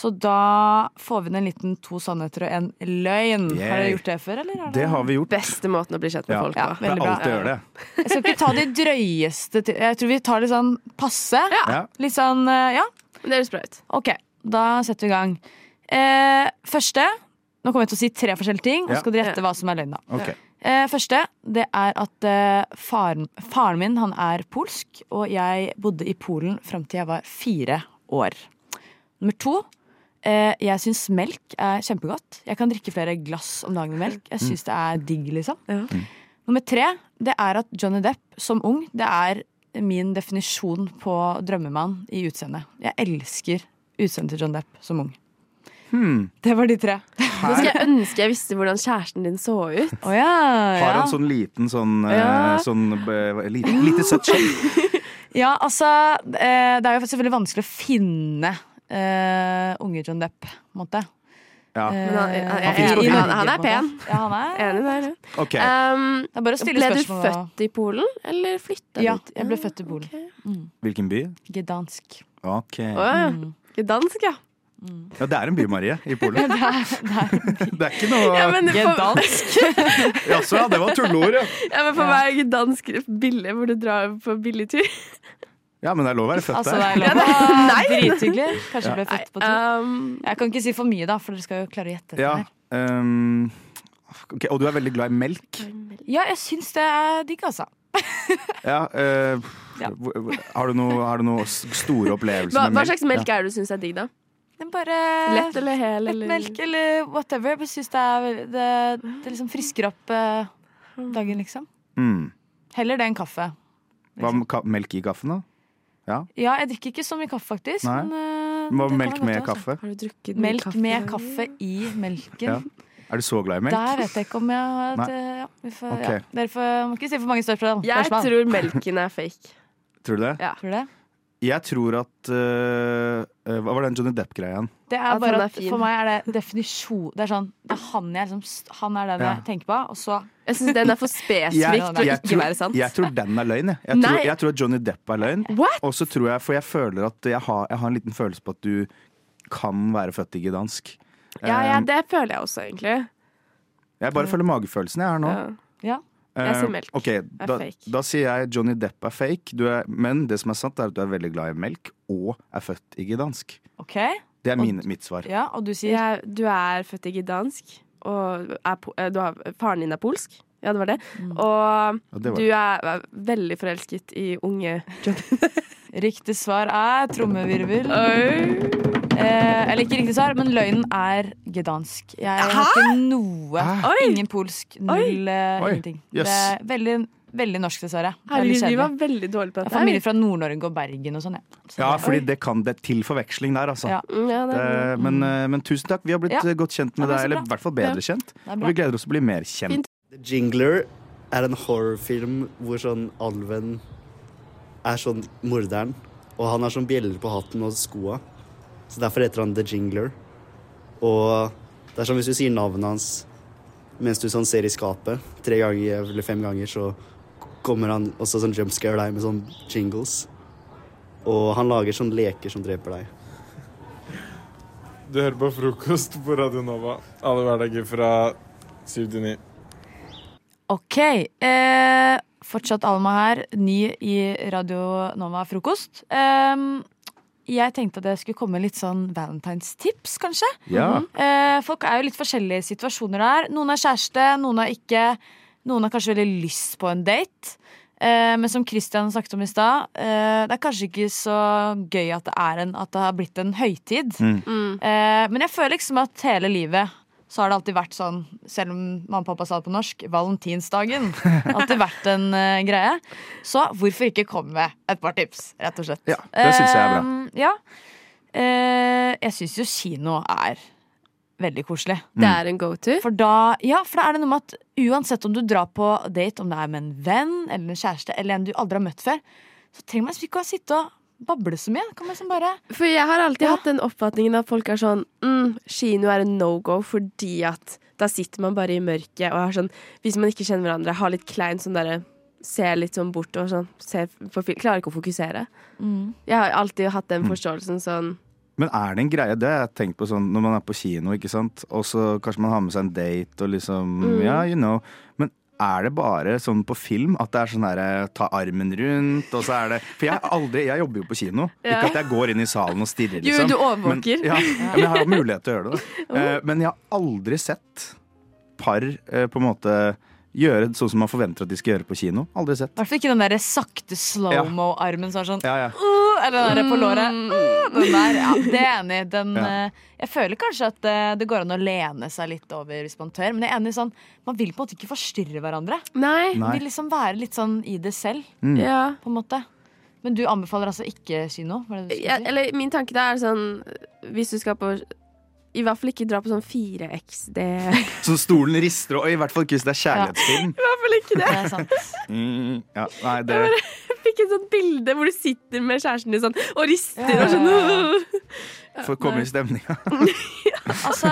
Speaker 10: så da får vi inn en liten to sannheter og en løgn. Har dere
Speaker 11: Yay.
Speaker 10: gjort det før, eller? Er
Speaker 11: Det har vi gjort.
Speaker 9: Beste måten å bli kjent med
Speaker 11: Ja.
Speaker 9: folk
Speaker 10: Ja,
Speaker 9: på.
Speaker 11: Det
Speaker 10: veldig
Speaker 11: er
Speaker 10: bra.
Speaker 11: alltid å gjøre det.
Speaker 10: Jeg skal ikke ta de drøyeste til Jeg tror vi tar litt sånn passe.
Speaker 11: Ja.
Speaker 10: Litt sånn, eh, ja.
Speaker 9: Det høres bra ut.
Speaker 10: Ok, da setter vi i gang. Eh, første Nå kommer jeg til å si tre forskjellige ting, og
Speaker 11: Ja.
Speaker 10: så skal dere gjette hva som er løgn. da.
Speaker 11: Ok.
Speaker 10: Eh, første det er at eh, faren, faren min han er polsk, og jeg bodde i Polen fram til jeg var fire år. Nummer to eh, jeg syns melk er kjempegodt. Jeg kan drikke flere glass om dagen med melk. Jeg syns det er digg, liksom.
Speaker 9: Mm.
Speaker 10: Nummer tre det er at Johnny Depp som ung det er min definisjon på drømmemann i utseendet. Jeg elsker utseendet til John Depp som ung.
Speaker 9: Hmm.
Speaker 10: Det var de tre.
Speaker 9: Nå skal jeg ønske jeg visste hvordan kjæresten din så ut.
Speaker 10: Å ja,
Speaker 11: Har
Speaker 10: ja.
Speaker 11: han sånn liten sånn, eh,
Speaker 9: Ja.
Speaker 11: sånn eh, hva- lite, lite søtt skjegg?
Speaker 10: Ja, altså eh, Det er jo selvfølgelig vanskelig å finne eh, unge John Depp, på en måte.
Speaker 11: Ja.
Speaker 10: Eh,
Speaker 9: Men han- han-
Speaker 10: i-
Speaker 9: han finnes på
Speaker 10: i
Speaker 9: film.
Speaker 10: Norge,
Speaker 9: Han er
Speaker 10: på en måte.
Speaker 9: pen.
Speaker 10: Ja, han er.
Speaker 9: Enig der, ja.
Speaker 11: Ok.
Speaker 9: Um,
Speaker 10: Det er bare å stille
Speaker 9: ble du
Speaker 10: spørsmål. da.
Speaker 9: født i Polen, eller flytta
Speaker 10: Ja,
Speaker 9: dit?
Speaker 10: jeg ble født i Polen.
Speaker 11: Hvilken by?
Speaker 10: Gdansk.
Speaker 9: Å
Speaker 11: Ok. Ja,
Speaker 9: ja. Gdansk, ja.
Speaker 11: det er en by, Marie, i Polen. Det er, ikke noe
Speaker 9: Ja, men for,
Speaker 10: Gdansk?
Speaker 11: Jaså, ja, det var tulleord, ja.
Speaker 9: ja, men for meg er Gdansk billig, hvor du drar på billigtur.
Speaker 11: Ja, men det er lov å være født
Speaker 10: Altså, det
Speaker 11: der.
Speaker 10: er lov å Drithyggelig. Kanskje ble født på to.
Speaker 9: Um,
Speaker 10: Jeg kan ikke si for mye, da, for dere skal jo klare å gjette.
Speaker 11: Ja.
Speaker 10: dette her.
Speaker 11: ehm, ok, Og du er veldig glad i melk.
Speaker 10: ja, jeg syns det er digg, altså.
Speaker 11: Ja, eh,
Speaker 10: Ja.
Speaker 11: hvor- hvor- Har, du noe, har du noe s- store opplevelser
Speaker 9: hva,
Speaker 11: med
Speaker 9: hva
Speaker 11: melk?
Speaker 9: slags melk er det du syns er digg, da?
Speaker 10: Men bare
Speaker 9: Lett eller hel?
Speaker 10: lett
Speaker 9: Eller?
Speaker 10: melk eller whatever. Jeg bare syns det er veldig- det, det liksom frisker opp eh, dagen, liksom.
Speaker 11: Ja. Mm.
Speaker 10: Heller det enn kaffe.
Speaker 11: Hva med ka melk i kaffen, da?
Speaker 10: Ja, jeg drikker ikke så mye kaffe, faktisk.
Speaker 11: Nei.
Speaker 10: Men, eh, det
Speaker 11: Hva
Speaker 10: kan
Speaker 11: med melk
Speaker 10: være
Speaker 11: med
Speaker 10: godt, altså.
Speaker 11: kaffe?
Speaker 9: Har du drukket mye
Speaker 10: Melk med
Speaker 9: i dag?
Speaker 10: kaffe i melken.
Speaker 11: Ja, Er du så glad i melk?
Speaker 10: Der vet jeg ikke om jeg har et
Speaker 11: Nei.
Speaker 10: eh, ja, vi får,
Speaker 11: Ok.
Speaker 10: ja. Dere får, må ikke si for mange spørsmål.
Speaker 9: Jeg
Speaker 10: spørsmål.
Speaker 9: tror melken er fake.
Speaker 11: Tror du det?
Speaker 9: Ja.
Speaker 10: Tror du det?
Speaker 11: Jeg tror at eh, eh, Hva var den Johnny Depp-greia igjen?
Speaker 10: Det er
Speaker 9: At
Speaker 10: bare
Speaker 9: han er
Speaker 10: at
Speaker 9: fin.
Speaker 10: For meg er det definisjon Det er sånn Det er han jeg liksom s- Han er den
Speaker 11: Ja.
Speaker 10: jeg tenker på, og så
Speaker 9: Jeg syns den er for
Speaker 11: Jeg-
Speaker 9: spesifikk
Speaker 10: Svikt
Speaker 9: til å
Speaker 11: jeg
Speaker 9: ikke
Speaker 11: tror-
Speaker 9: være sant.
Speaker 11: Jeg tror den er løgn. Jeg, jeg, tror,
Speaker 9: Nei.
Speaker 11: jeg tror at Johnny Depp er løgn. Og så tror jeg, for jeg føler at jeg har, jeg har en liten følelse på at du kan være født i gdansk.
Speaker 9: Ja, ja,
Speaker 11: Um,
Speaker 9: det føler jeg også, egentlig.
Speaker 11: jeg bare føler magefølelsen jeg har nå.
Speaker 9: Ja. jeg
Speaker 11: Eh,
Speaker 9: sier melk.
Speaker 11: ok,
Speaker 9: Er
Speaker 11: da,
Speaker 9: fake.
Speaker 11: da sier jeg Johnny Depp er fake, du er, men det som er sant, er at du er veldig glad i melk og er født i gdansk.
Speaker 10: OK.
Speaker 11: Det er min, mitt svar.
Speaker 10: Ja, og du sier
Speaker 9: Jeg, du er født i gdansk, og er, po- eh, du har, faren din er polsk.
Speaker 6: Ja, det var det.
Speaker 10: Mm.
Speaker 11: Ja,
Speaker 6: Og
Speaker 11: det var
Speaker 6: du er veldig forelsket i unge
Speaker 10: Riktig svar er trommevirvel. Eh, eller ikke riktig svar, men løgnen er gedansk. Jeg har ikke noe. Ingen polsk. Null eh,
Speaker 6: Oi.
Speaker 10: ingenting.
Speaker 6: Jøss.
Speaker 10: Det er veldig, veldig norsk, dessverre. Det er litt
Speaker 7: Herregud, vi
Speaker 10: kjedelig.
Speaker 7: var veldig dårlige på
Speaker 10: Jeg har
Speaker 7: dette.
Speaker 10: Familie fra Nord-Norge og Bergen og sånn, ja.
Speaker 11: Ja, fordi det kan det til forveksling der, altså.
Speaker 10: Ja. Mm, ja, det er
Speaker 11: Eh, men, eh, men tusen takk. Vi har blitt
Speaker 10: Ja.
Speaker 11: eh, godt kjent med
Speaker 10: Ja, men
Speaker 11: deg,
Speaker 10: så
Speaker 11: eller i
Speaker 10: bra.
Speaker 11: hvert fall
Speaker 10: Ja.
Speaker 11: bedre kjent.
Speaker 10: Det er
Speaker 11: Og
Speaker 10: bra.
Speaker 11: vi gleder oss til å bli mer kjent.
Speaker 3: The Jingler er en horrorfilm hvor sånn alven er sånn morderen, og han har sånn bjeller på hatten og skoa. Så derfor heter han The Jingler. Og det er sånn hvis du sier navnet hans mens du sånn ser i skapet tre ganger eller fem ganger, så kommer han også sånn jumpscare deg med sånn jingles. Og han lager sånn leker som dreper deg.
Speaker 5: Du hører på frokost på Radio Nova. Alle hverdager fra 7 til 9.
Speaker 10: Ok. Eh, fortsatt Alma her, ny i Radio Nova Frokost. Ehm, jeg tenkte at jeg skulle komme med litt sånn valentinstips, kanskje.
Speaker 12: Ja.
Speaker 10: Eh, folk er jo litt forskjellige i situasjoner der. Noen er kjæreste, noen er ikke. Noen har kanskje veldig lyst på en date. Eh, men som Christian snakket om i stad, eh, det er kanskje ikke så gøy at det, er en, at det har blitt en høytid.
Speaker 12: Mm.
Speaker 10: Eh, men jeg føler liksom at hele livet så har det alltid vært sånn, selv om mamma og pappa sa det på norsk, valentinsdagen. Alltid vært en eh, greie. Så hvorfor ikke komme med et par tips, rett og slett.
Speaker 11: Ja, det synes jeg er bra.
Speaker 10: Eh, ja. Eh, jeg syns jo kino er veldig koselig.
Speaker 6: Det
Speaker 11: Mm.
Speaker 6: er en go-to.
Speaker 10: For da, ja, for da er det noe med at uansett om du drar på date, om det er med en venn eller en kjæreste eller en du aldri har møtt før, så trenger man liksom ikke å sitte og bable så mye. Da Kan man liksom bare
Speaker 6: For jeg har alltid hatt den oppfatningen at folk er sånn mm, Kino er en no-go fordi at da sitter man bare i mørket og er sånn Hvis man ikke kjenner hverandre, har litt klein sånn derre Ser litt sånn bort og sånn ser på film. Klarer ikke å fokusere.
Speaker 10: Mm.
Speaker 6: Jeg har alltid hatt
Speaker 11: Mm.
Speaker 6: den forståelsen sånn
Speaker 11: Men er det en greie? Det har jeg tenkt på sånn når man er på kino, ikke sant. Og så kanskje man har med seg en date og liksom
Speaker 6: Mm.
Speaker 11: Ja, you know. Men er det bare sånn på film at det er sånn herre ta armen rundt, og så er det For jeg har aldri Jeg jobber jo på kino.
Speaker 6: Ja.
Speaker 11: Ikke at jeg går inn i salen og stirrer,
Speaker 6: Jo,
Speaker 11: liksom.
Speaker 6: du overvåker.
Speaker 11: Men, ja, ja, men jeg har jo mulighet til å gjøre det. da. Eh, Men jeg har aldri sett par eh, på en måte gjøre sånn som man forventer at de skal gjøre på kino. Aldri sett.
Speaker 10: I hvert fall ikke den der sakte slow-mo-armen som er sånn
Speaker 11: Ja, ja.
Speaker 10: «Åh», Eller den der på låret.
Speaker 6: Mm.
Speaker 10: «Åh», den der, ja, det er jeg enig i. Den,
Speaker 11: Ja.
Speaker 10: eh, Jeg føler kanskje at eh, det går an å lene seg litt over hvis man tør. Men jeg er enig i sånn, man vil på en måte ikke forstyrre hverandre.
Speaker 6: Nei.
Speaker 10: Man vil liksom være litt sånn i det selv,
Speaker 6: Mm. Ja.
Speaker 10: på en måte. Men du anbefaler altså ikke kino? Var det du
Speaker 6: ja,
Speaker 10: skulle si?
Speaker 6: Eller min tanke da er sånn Hvis du skal på I hvert fall ikke dra på sånn 4XD.
Speaker 11: Så stolen rister, og i hvert fall ikke hvis det er kjærlighetsfilm.
Speaker 6: I hvert fall ikke det.
Speaker 11: Mm, ja, nei, det
Speaker 6: Jeg fikk et sånt bilde hvor du sitter med kjæresten din sånn og rister
Speaker 10: Ja, ja,
Speaker 6: og sånn.
Speaker 10: ja,
Speaker 11: får komme i stemninga.
Speaker 10: Altså,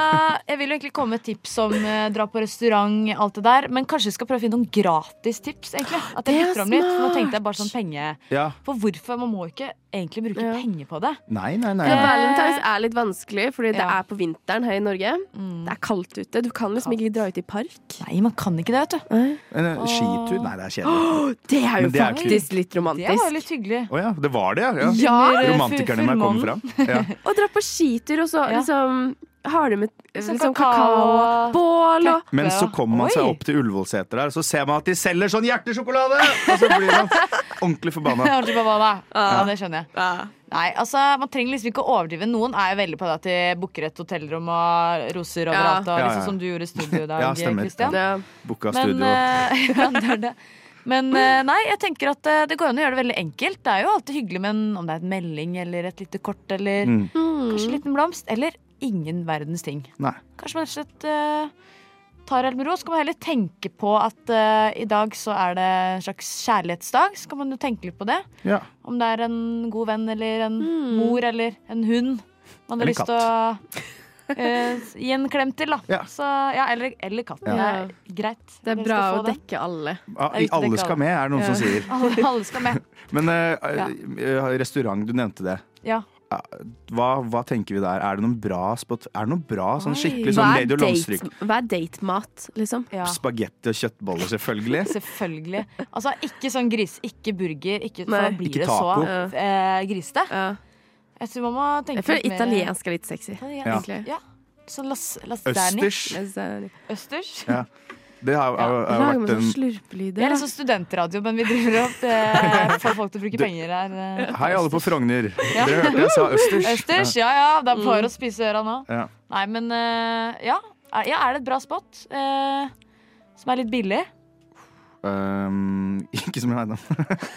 Speaker 10: Jeg vil jo egentlig komme med tips om eh, dra på restaurant, alt det der. Men kanskje vi skal prøve å finne noen gratis tips, egentlig. At jeg
Speaker 6: Det er
Speaker 10: bytter om litt. For nå
Speaker 6: smart.
Speaker 10: tenkte jeg bare sånn penge.
Speaker 11: Ja.
Speaker 10: For hvorfor? Man må jo ikke egentlig bruke penger på det. Eh,
Speaker 11: Nei, nei, nei.
Speaker 6: Men Valentine's er litt vanskelig, fordi det er på vinteren her i Norge.
Speaker 10: Mm.
Speaker 6: Det er kaldt ute. Du kan liksom ikke dra ut i park.
Speaker 10: Nei, man kan ikke det, vet du.
Speaker 11: En eh, skitur? Nei, det
Speaker 6: Åh,
Speaker 11: er kjedelig.
Speaker 6: det er jo
Speaker 11: Men det er
Speaker 6: faktisk litt
Speaker 10: Det var jo
Speaker 6: romantisk.
Speaker 10: litt hyggelig.
Speaker 11: Å ja, det var det, ja?
Speaker 6: Ja. Under, eh,
Speaker 11: Romantikerne i meg kom fram. Ja.
Speaker 6: Å dra på skitur, og så liksom har du med eh,
Speaker 10: Sånn
Speaker 6: liksom
Speaker 10: kakao.
Speaker 6: kakaobål og
Speaker 11: Men så kommer man seg opp til Ullevålseter der, og så ser man at de selger sånn hjertesjokolade! Og så blir man ordentlig
Speaker 10: Jeg
Speaker 11: forbanna.
Speaker 10: hørte på hva da. Ja, det skjønner jeg. Nei, altså, Man trenger liksom ikke å overdrive. Noen er jo veldig på det at de booker et hotellrom og roser overalt.
Speaker 11: Ja.
Speaker 10: Og
Speaker 11: Ja,
Speaker 10: liksom
Speaker 11: ja.
Speaker 10: Som du gjorde i studio i dag,
Speaker 11: Ja, stemmer.
Speaker 10: Christian.
Speaker 11: Ja. Booka
Speaker 10: Men,
Speaker 11: studio.
Speaker 10: eh, ja, det er det. Men eh, nei, jeg tenker at eh, det går an å gjøre det veldig enkelt. Det er jo alltid hyggelig med en, om det er en melding eller et lite kort eller
Speaker 11: Mm.
Speaker 10: kanskje en liten blomst. Eller ingen verdens ting.
Speaker 11: Nei.
Speaker 10: Kanskje man rett og slett eh, tar det helt med ro. Så kan man heller tenke på at eh, i dag så er det en slags kjærlighetsdag. Så kan man jo tenke litt på det.
Speaker 11: Ja.
Speaker 10: Om det er en god venn eller en mor eller en hund man har
Speaker 11: Mm. Eller
Speaker 10: lyst til å eh, gi en klem til, da. Så, ja, eller, eller katten.
Speaker 11: Ja.
Speaker 10: Det er greit.
Speaker 6: Det er
Speaker 10: Dere
Speaker 6: bra
Speaker 10: skal
Speaker 6: å
Speaker 10: få det.
Speaker 6: dekke alle.
Speaker 11: Ja, i- alle skal med, er det noen som sier.
Speaker 10: Alle, alle skal med.
Speaker 11: Men eh, eh, restaurant, du nevnte det.
Speaker 10: Ja.
Speaker 11: Ja, Hva, hva tenker vi der? Er det noen bra spot? Er det noe bra sånn
Speaker 6: Oi.
Speaker 11: skikkelig sånn
Speaker 6: Hva er
Speaker 11: Lady og Lomstryk?
Speaker 6: date- Hva er datemat, liksom?
Speaker 11: Spagetti og kjøttboller, selvfølgelig.
Speaker 10: Selvfølgelig. Altså, ikke sånn gris, ikke burger, ikke, for
Speaker 6: Nei.
Speaker 10: da blir
Speaker 11: Ikke
Speaker 10: det
Speaker 11: taco.
Speaker 10: så eh, grisete. Jeg tror man må tenke
Speaker 6: Jeg føler
Speaker 10: litt mer-
Speaker 6: italiensk er litt sexy.
Speaker 10: Italien-
Speaker 11: Ja.
Speaker 10: Ja. Så las, las
Speaker 11: Østers.
Speaker 10: Østers.
Speaker 11: Ja. Det har, har, har vært en
Speaker 10: slurpelyder. Det er liksom studentradio, men vi driver opp eh, får folk til å bruke
Speaker 11: Du-
Speaker 10: penger her. eh.
Speaker 11: Hei, alle på Frogner.
Speaker 10: Ja.
Speaker 11: Dere hørte jeg sa østers.
Speaker 10: Østers, ja ja. Det
Speaker 6: Mm.
Speaker 10: er bare å spise øra nå.
Speaker 11: Ja.
Speaker 10: Nei, men eh, ja. Er- ja. Er det et bra spot? eh, som er litt billig?
Speaker 11: Ehm, ikke som jeg veit om.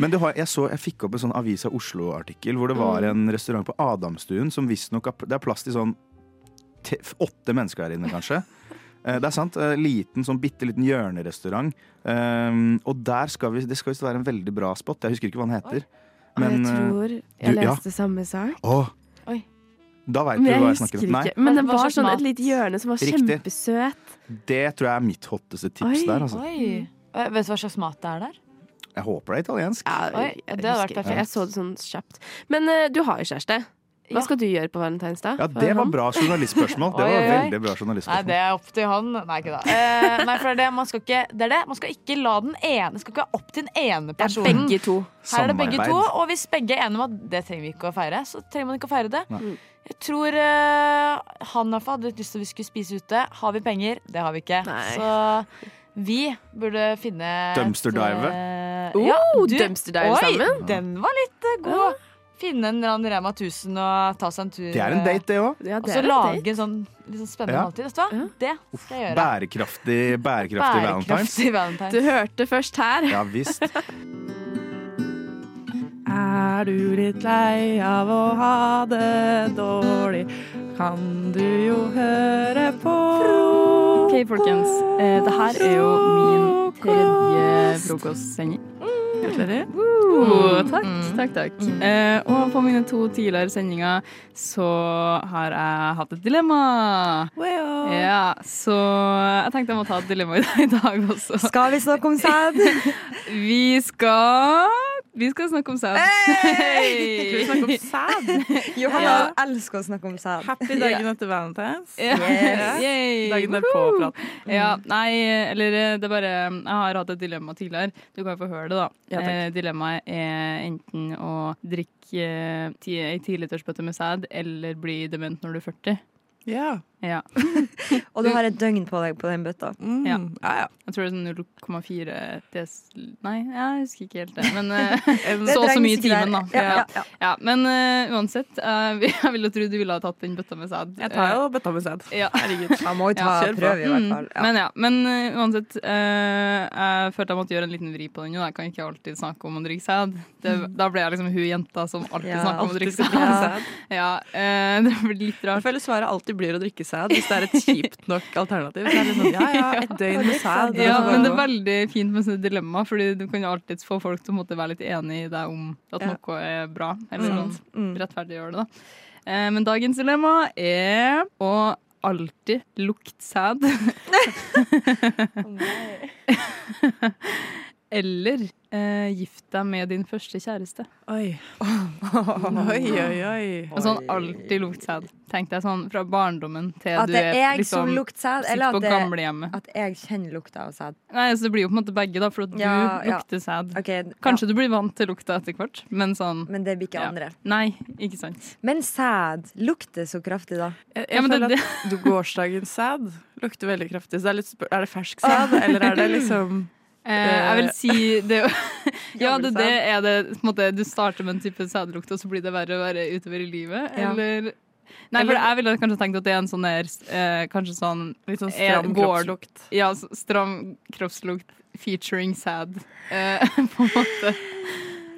Speaker 11: Men det har, jeg, så, jeg fikk opp en sånn Avisa Oslo-artikkel hvor det var en restaurant på Adamstuen som visstnok har pl- Det er plass til sånn te, åtte mennesker her inne, kanskje. Eh, Det er sant. eh, Liten, sånn bitte liten hjørnerestaurant. Ehm, og der skal vi, det skal visst være en veldig bra spot. Jeg husker ikke hva den heter.
Speaker 7: jeg
Speaker 11: eh,
Speaker 7: tror jeg
Speaker 11: du- ja.
Speaker 7: leste samme sak.
Speaker 11: Åh,
Speaker 10: Oi.
Speaker 11: da veit
Speaker 7: Men
Speaker 11: du
Speaker 7: jeg
Speaker 11: hva jeg
Speaker 7: husker
Speaker 11: snakker om. Nei,
Speaker 7: ikke. Men det
Speaker 10: Hva
Speaker 7: var
Speaker 10: slags
Speaker 7: sånn
Speaker 10: mat?
Speaker 7: et lite hjørne som var
Speaker 11: Riktig.
Speaker 7: kjempesøt.
Speaker 11: det tror jeg er mitt hotteste tips der, altså.
Speaker 10: Oi. Eh, Vet du hva slags mat det er der?
Speaker 11: Jeg håper det er italiensk.
Speaker 10: Oi,
Speaker 7: Jeg
Speaker 10: det hadde vært
Speaker 7: husker ikke.
Speaker 10: perfekt.
Speaker 7: Jeg så det sånn kjapt. Men eh, du har jo kjæreste. Hva skal du gjøre på valentinsdag?
Speaker 11: Ja, det var bra journalistspørsmål. Det
Speaker 10: Oi,
Speaker 11: var
Speaker 10: oi, oi.
Speaker 11: veldig bra journalistspørsmål.
Speaker 10: Nei, det er opp til han. Nei, ikke da. Eh, nei, for det er det. Man skal ikke, det er det. Man skal ikke la den ene Skal ikke ha opp til den ene
Speaker 11: sånn-
Speaker 10: personen.
Speaker 7: Begge to.
Speaker 10: Her er det begge to,
Speaker 7: Samarbeid.
Speaker 10: og hvis begge er enige om at det trenger vi ikke å feire, så trenger man ikke å feire det.
Speaker 7: Nei.
Speaker 10: Jeg tror eh, han i hvert fall hadde litt lyst til at vi skulle spise ute. Har vi penger? Det har vi ikke. Så vi burde finne et,
Speaker 11: Dumpsterdive.
Speaker 10: eh,
Speaker 7: Oh,
Speaker 10: du-
Speaker 7: dumpsterdive
Speaker 10: oi,
Speaker 7: sammen.
Speaker 10: Den var litt eh, god. Finne en eller annen Rema 1000 og ta seg en tur. eh,
Speaker 11: Det er en date, det òg.
Speaker 7: Ja,
Speaker 10: og så lage en sånn litt sånn spennende
Speaker 11: Ja.
Speaker 10: måltid. Vet du hva? Det skal jeg gjøre.
Speaker 11: Bærekraftig, bærekraftig valentines.
Speaker 10: valentines.
Speaker 7: Du hørte først her.
Speaker 11: Ja visst.
Speaker 13: Er du litt lei av å ha det dårlig, kan du jo høre på.
Speaker 14: OK, folkens. Eh, det her er jo min tredje frokostsending. Gratulerer. Oh, takk, takk, takk. Eh, og på mine to tidligere sendinger så har jeg hatt et dilemma. Ja, så jeg tenkte jeg må ta et dilemma i dag- i dag også. Skal vi snakke om sæd? vi skal Vi skal snakke om sæd.
Speaker 15: Skal vi snakke om sæd?
Speaker 14: Johanna
Speaker 15: elsker å snakke om sæd.
Speaker 14: Happy dagen
Speaker 15: etter valentines.
Speaker 14: Ja.
Speaker 15: Yes.
Speaker 14: Yay.
Speaker 15: Dagen er
Speaker 14: Woohoo.
Speaker 15: påprat.
Speaker 14: Ja, nei, eller eh, det er bare Jeg har hatt et dilemma tidligere. Du kan jo få høre det, da.
Speaker 15: Ja, takk.
Speaker 14: Eh, dilemmaet er enten å drikke eh, ti- ei tilitersbøtte med sæd, eller bli dement når du er 40.
Speaker 15: Ja.
Speaker 14: Ja.
Speaker 15: Og du Mm. har et døgn på deg på den bøtta.
Speaker 14: Ja. Jeg tror det er sånn 0,4 des... Nei, jeg husker ikke helt det. Men eh,
Speaker 15: Det
Speaker 14: så og så
Speaker 15: trengs
Speaker 14: mye i
Speaker 15: ikke der.
Speaker 14: timen, da.
Speaker 15: Ja, ja, ja.
Speaker 14: Ja, men eh, uansett, eh, vi- jeg ville tro du ville ha tatt den bøtta med sæd.
Speaker 15: Jeg tar jo
Speaker 14: Eh,
Speaker 15: bøtta med sæd.
Speaker 14: Ja.
Speaker 15: Herregud. Man må jo ta
Speaker 14: kjør på.
Speaker 15: prøve i hvert
Speaker 14: Mm.
Speaker 15: fall. Ja.
Speaker 14: Men ja, men eh, uansett, eh, jeg følte jeg måtte gjøre en liten vri på den. jo, da. Jeg kan ikke alltid snakke om å drikke sæd. Det- Da ble jeg liksom hun jenta som
Speaker 15: Mm.
Speaker 14: alltid
Speaker 15: Ja,
Speaker 14: snakker om å
Speaker 15: alltid
Speaker 14: drikke
Speaker 15: skal drikke
Speaker 14: sæd. Ja, eh, det blir litt rart.
Speaker 15: Jeg føler svaret alltid blir å drikke sæd hvis det er et kjipt nok alternativ. Så er det sånn, ja, ja, et døgn med sæd.
Speaker 14: Ja, men det er veldig fint med sånne dilemma, Fordi du kan jo alltid få folk til å måtte være litt enig i deg om at
Speaker 15: Ja.
Speaker 14: noe er bra, eller
Speaker 15: Mm.
Speaker 14: sånn rettferdiggjør det, da. Eh, Men dagens dilemma er å alltid lukte sæd. eller eh, gift deg med din første kjæreste.
Speaker 15: Oi. Oi, oi, oi.
Speaker 14: Og sånn alltid lukt sæd. Tenk deg sånn fra barndommen til
Speaker 15: At
Speaker 14: du
Speaker 15: det
Speaker 14: er
Speaker 15: er jeg
Speaker 14: liksom,
Speaker 15: som lukter sæd, eller at
Speaker 14: sitter på
Speaker 15: det-
Speaker 14: gamlehjemmet.
Speaker 15: At jeg kjenner lukta av sæd.
Speaker 14: Nei, så Det blir jo på en måte begge, da, for at
Speaker 15: Ja,
Speaker 14: du
Speaker 15: ja.
Speaker 14: lukter sæd. Kanskje du blir vant til lukta etter hvert, men sånn
Speaker 15: Men det blir ikke andre.
Speaker 14: Nei, ikke sant.
Speaker 15: Men sæd lukter så kraftig, da.
Speaker 14: Jeg- jeg Ja, men det- føler
Speaker 15: at gårsdagens sæd lukter veldig kraftig. Så det er, det fersk sæd, eller er det liksom
Speaker 14: Eh, jeg vil si det er jo- Ja, det, det er det på en måte, Du starter med en type sædlukt, og så blir det verre og verre utover i livet,
Speaker 15: Ja.
Speaker 14: eller Nei, for
Speaker 15: Eller-
Speaker 14: jeg ville kanskje tenkt at det er en sånn der eh, Kanskje sånn
Speaker 15: Litt sånn
Speaker 14: er-
Speaker 15: stram
Speaker 14: går-
Speaker 15: kroppslukt.
Speaker 14: Ja, så- stram kroppslukt featuring sæd, eh, på en måte.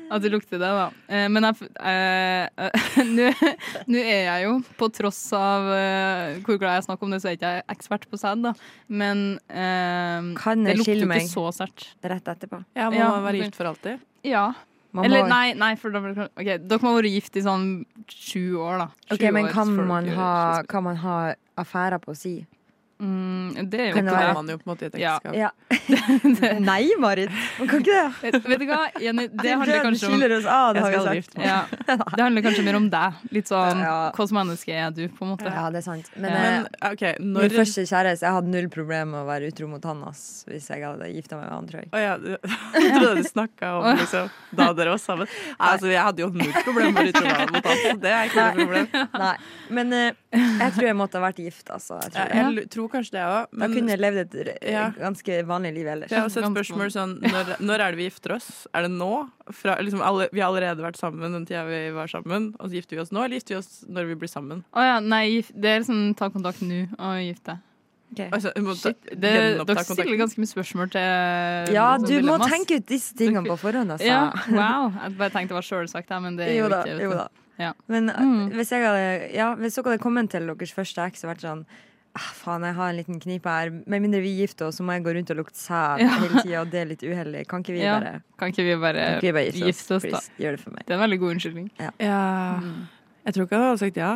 Speaker 14: At du lukter det, da. Eh, men jeg f- eh, eh, Nå nå er jeg jo, på tross av eh, hvor glad jeg snakker om det, så er ikke jeg ekspert på sæd, da. Men eh,
Speaker 15: Kan
Speaker 14: det
Speaker 15: jeg
Speaker 14: lukter jo
Speaker 15: skille meg?
Speaker 14: ikke så sterkt.
Speaker 15: Rett etterpå.
Speaker 14: Ja, må man være gift
Speaker 15: for alltid?
Speaker 14: Ja.
Speaker 15: Man
Speaker 14: Eller
Speaker 15: må-
Speaker 14: nei, nei for da, blir det- ok, dere må ha vært gift i sånn sju år, da. Sju
Speaker 15: Ok, men
Speaker 14: år
Speaker 15: kan
Speaker 14: før
Speaker 15: man,
Speaker 14: dere-
Speaker 15: ha, kan man ha affærer på si?
Speaker 14: mm, Det er jo
Speaker 15: Kan det
Speaker 14: ikke
Speaker 15: være-
Speaker 14: det.
Speaker 15: man jo
Speaker 14: på en måte i et
Speaker 15: Ja. Nei, Marit. Man kan ikke det.
Speaker 14: Vet, vet du hva, Jenny, det
Speaker 15: Den
Speaker 14: handler
Speaker 15: døden
Speaker 14: kanskje om
Speaker 15: skiller oss ad, har
Speaker 14: skal
Speaker 15: vi
Speaker 14: aldri
Speaker 15: sagt.
Speaker 14: gifte meg. Ja. Det handler kanskje mer om deg. Litt sånn hva slags menneske er du, på en måte.
Speaker 15: Ja, det er sant. Men,
Speaker 14: Ja.
Speaker 15: eh, Min første kjæreste, jeg hadde null problem med å være utro mot han ass, hvis jeg hadde gifta meg med han, tror jeg.
Speaker 12: Å ja, du, jeg trodde du snakka om liksom, da dere var sammen. Nei, Altså, jeg hadde jo null problem med utroskap mot han, så det er ikke noe problem.
Speaker 15: Nei, men eh, jeg tror jeg måtte ha vært gift, altså. Jeg tror,
Speaker 12: Jeg, jeg lu- tror Jo, kanskje det òg.
Speaker 15: Da kunne jeg levd et re-
Speaker 12: Ja.
Speaker 15: ganske vanlig liv ellers.
Speaker 12: For Jeg har også et spørsmål sånn når, når er det vi gifter oss? Er det nå? Fra, liksom, alle, vi har allerede vært sammen den tida vi var sammen. Og så gifter vi oss nå, eller gifter vi oss når vi blir sammen?
Speaker 14: Å ja, nei, gif- det er liksom ta kontakt nå og gift deg.
Speaker 12: Altså, vi må ta-
Speaker 14: Shit, det,
Speaker 12: gjenoppta
Speaker 14: dere
Speaker 12: kontakten.
Speaker 14: stiller ganske mye spørsmål til
Speaker 15: Ja,
Speaker 14: til
Speaker 15: du må
Speaker 14: dilemmas.
Speaker 15: tenke ut disse tingene på forhånd, altså.
Speaker 14: Ja, wow. Jeg bare tenkte det var sjølsagt, her, men det er jo,
Speaker 15: Jo da,
Speaker 14: ikke vet du.
Speaker 15: jo da.
Speaker 14: Ja. Mm.
Speaker 15: Men eh, hvis, jeg hadde, ja, hvis dere hadde kommet til deres første eks og vært sånn ah, Faen, jeg har en liten knipe her. Med mindre vi gifter oss, så må jeg gå rundt og lukte sæd
Speaker 14: Ja.
Speaker 15: hele tida, og det er litt uheldig. Kan ikke vi
Speaker 14: Ja,
Speaker 15: bare
Speaker 14: Kan ikke vi bare,
Speaker 15: Kan ikke vi bare gifte oss,
Speaker 14: gifte oss, da?
Speaker 15: please? Gjør det for meg.
Speaker 14: Det er en veldig god unnskyldning.
Speaker 12: Ja.
Speaker 10: Mm.
Speaker 12: Jeg tror ikke jeg hadde sagt ja.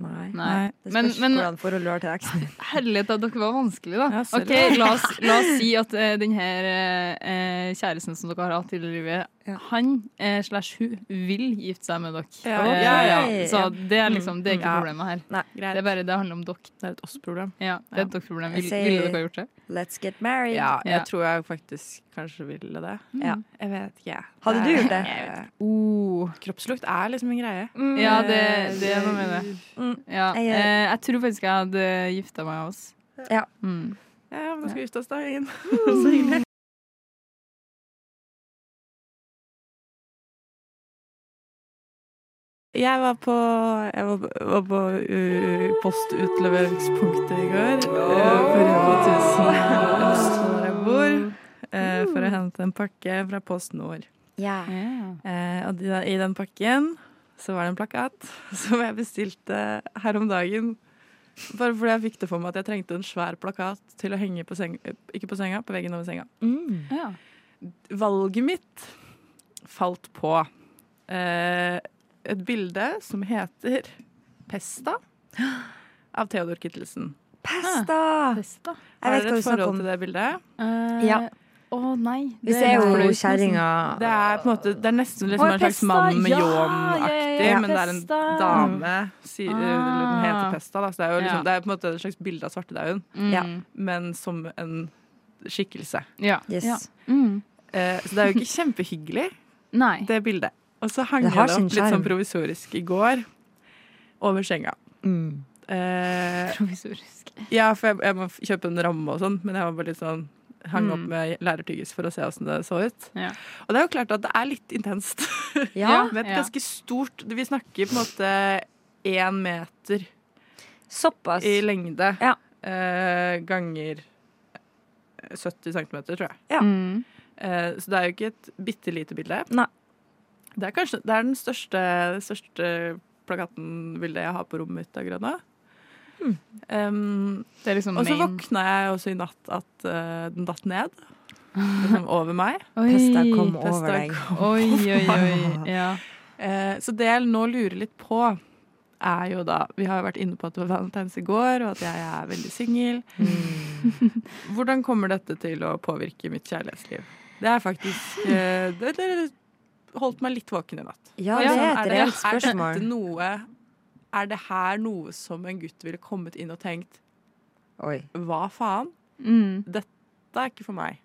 Speaker 15: Nei.
Speaker 14: Nei.
Speaker 15: Det
Speaker 14: Men-
Speaker 15: spørs
Speaker 14: men-
Speaker 15: hvordan forholdet du har til eksen.
Speaker 14: Hellighet, at dere var vanskelig, da.
Speaker 15: selv.
Speaker 14: ok, la oss, la oss si at eh, den her eh, kjæresten som dere har hatt tidligere i livet, han eh, slash hun vil gifte seg med dere.
Speaker 12: Ja.
Speaker 14: Eh,
Speaker 12: Ja, ja, ja.
Speaker 14: Så det er liksom det er ikke
Speaker 12: Ja.
Speaker 14: problemet her. Det er bare det handler om dere.
Speaker 12: Det er et oss-problem.
Speaker 14: Ja, det er et dere-problem.
Speaker 12: Jeg
Speaker 14: Vil,
Speaker 12: sier-
Speaker 14: ville dere ha gjort det?
Speaker 15: Let's get married.
Speaker 12: Ja, jeg
Speaker 14: Ja.
Speaker 12: tror jeg faktisk kanskje ville det.
Speaker 14: Ja.
Speaker 12: Jeg vet ikke.
Speaker 14: Hadde
Speaker 12: er-
Speaker 14: du gjort det?
Speaker 12: Jeg vet ikke.
Speaker 14: Oh.
Speaker 12: Kroppslukt er liksom en greie.
Speaker 14: Ja, det, det er noe med det. Ja.
Speaker 12: Mm. Jeg-
Speaker 14: Eh, jeg tror faktisk jeg hadde gifta meg også.
Speaker 15: Ja.
Speaker 14: Mm.
Speaker 12: Ja, men da skal vi gifte oss, da. Ingen. Så hyggelig. Jeg var på, jeg var, var på uh, postutleveringspunktet i går. Uh, på Rema 1000 i Oslo, hvor jeg bor. eh, for å hente en pakke fra Post Nord.
Speaker 15: Ja.
Speaker 12: Eh, og de, i den pakken så var det en plakat som jeg bestilte her om dagen. Bare fordi jeg fikk det for meg at jeg trengte en svær plakat til å henge på seng, ikke på senga, på veggen over senga. Valget mitt falt på eh, et bilde som heter Pesta av Theodor Kittelsen.
Speaker 15: Pesta!
Speaker 12: Har
Speaker 15: Jeg vet hva du
Speaker 12: dere Ah, et
Speaker 15: snakker
Speaker 12: forhold
Speaker 15: om.
Speaker 12: til det bildet?
Speaker 15: Ja.
Speaker 14: Eh, Å nei.
Speaker 15: Vi ser jo
Speaker 12: flaut, nesten.
Speaker 15: kjerringa-
Speaker 12: Det er på en måte Det er nesten liksom
Speaker 15: Å, ja,
Speaker 12: en slags
Speaker 15: Pesta,
Speaker 12: mann med
Speaker 15: ja,
Speaker 12: ljåm-aktig,
Speaker 15: ja, ja, ja,
Speaker 12: men det er en
Speaker 15: Pesta.
Speaker 12: dame si, eh,
Speaker 15: Ah.
Speaker 12: eller Hun heter Pesta, da, så det er jo liksom
Speaker 14: Ja. Mm.
Speaker 12: Det er på en måte et slags bilde av svartedauden,
Speaker 14: Ja.
Speaker 12: men som en skikkelse.
Speaker 14: Ja.
Speaker 15: Yes.
Speaker 14: Ja. Mm.
Speaker 12: Eh, så det er jo ikke kjempehyggelig,
Speaker 14: Nei.
Speaker 12: det bildet. Og så hang
Speaker 15: Det
Speaker 12: jeg
Speaker 15: har
Speaker 12: det
Speaker 15: sin
Speaker 12: opp litt
Speaker 15: sjarm.
Speaker 12: sånn provisorisk i går over senga.
Speaker 15: Mm.
Speaker 12: Eh,
Speaker 14: Provisorisk.
Speaker 12: Ja, for jeg, jeg må f- kjøpe en ramme og sånn, men jeg var bare litt sånn Hang
Speaker 14: Mm.
Speaker 12: opp med lærertyggis for å se åssen det så ut.
Speaker 14: Ja.
Speaker 12: Og det er jo klart at det er litt intenst.
Speaker 14: Ja,
Speaker 12: Med et
Speaker 14: ja.
Speaker 12: ganske stort Vi snakker på en måte én meter
Speaker 15: Såpass.
Speaker 12: i lengde. Eh, ganger 70 cm, tror jeg. Eh, så det er jo ikke et bitte lite bilde. Det er kanskje det er den største, største plakaten-bildet jeg har på rommet mitt akkurat nå. Hmm. Um,
Speaker 14: det er liksom
Speaker 12: og så
Speaker 14: main.
Speaker 12: våkna jeg også i natt at eh, den datt ned. Liksom over meg.
Speaker 14: Oi, Pesta kom over
Speaker 12: Pesta
Speaker 14: deg.
Speaker 12: kom
Speaker 14: Oi,
Speaker 12: over
Speaker 14: oi, oi,
Speaker 12: meg.
Speaker 14: ja.
Speaker 12: Eh, så det jeg nå lurer litt på, er jo da Vi har jo vært inne på at det var valentines i går, og at jeg er veldig singel. Mm. Hvordan kommer dette til å påvirke mitt kjærlighetsliv? Det er faktisk eh, det, det holdt meg litt våken i natt.
Speaker 15: Ja,
Speaker 12: Og
Speaker 15: det
Speaker 12: sånn,
Speaker 15: er et reelt
Speaker 12: Er
Speaker 15: spørsmål.
Speaker 12: dette noe Er det her noe som en gutt ville kommet inn og tenkt
Speaker 15: Oi.
Speaker 12: Hva faen?
Speaker 14: Mm.
Speaker 12: Dette er ikke for meg.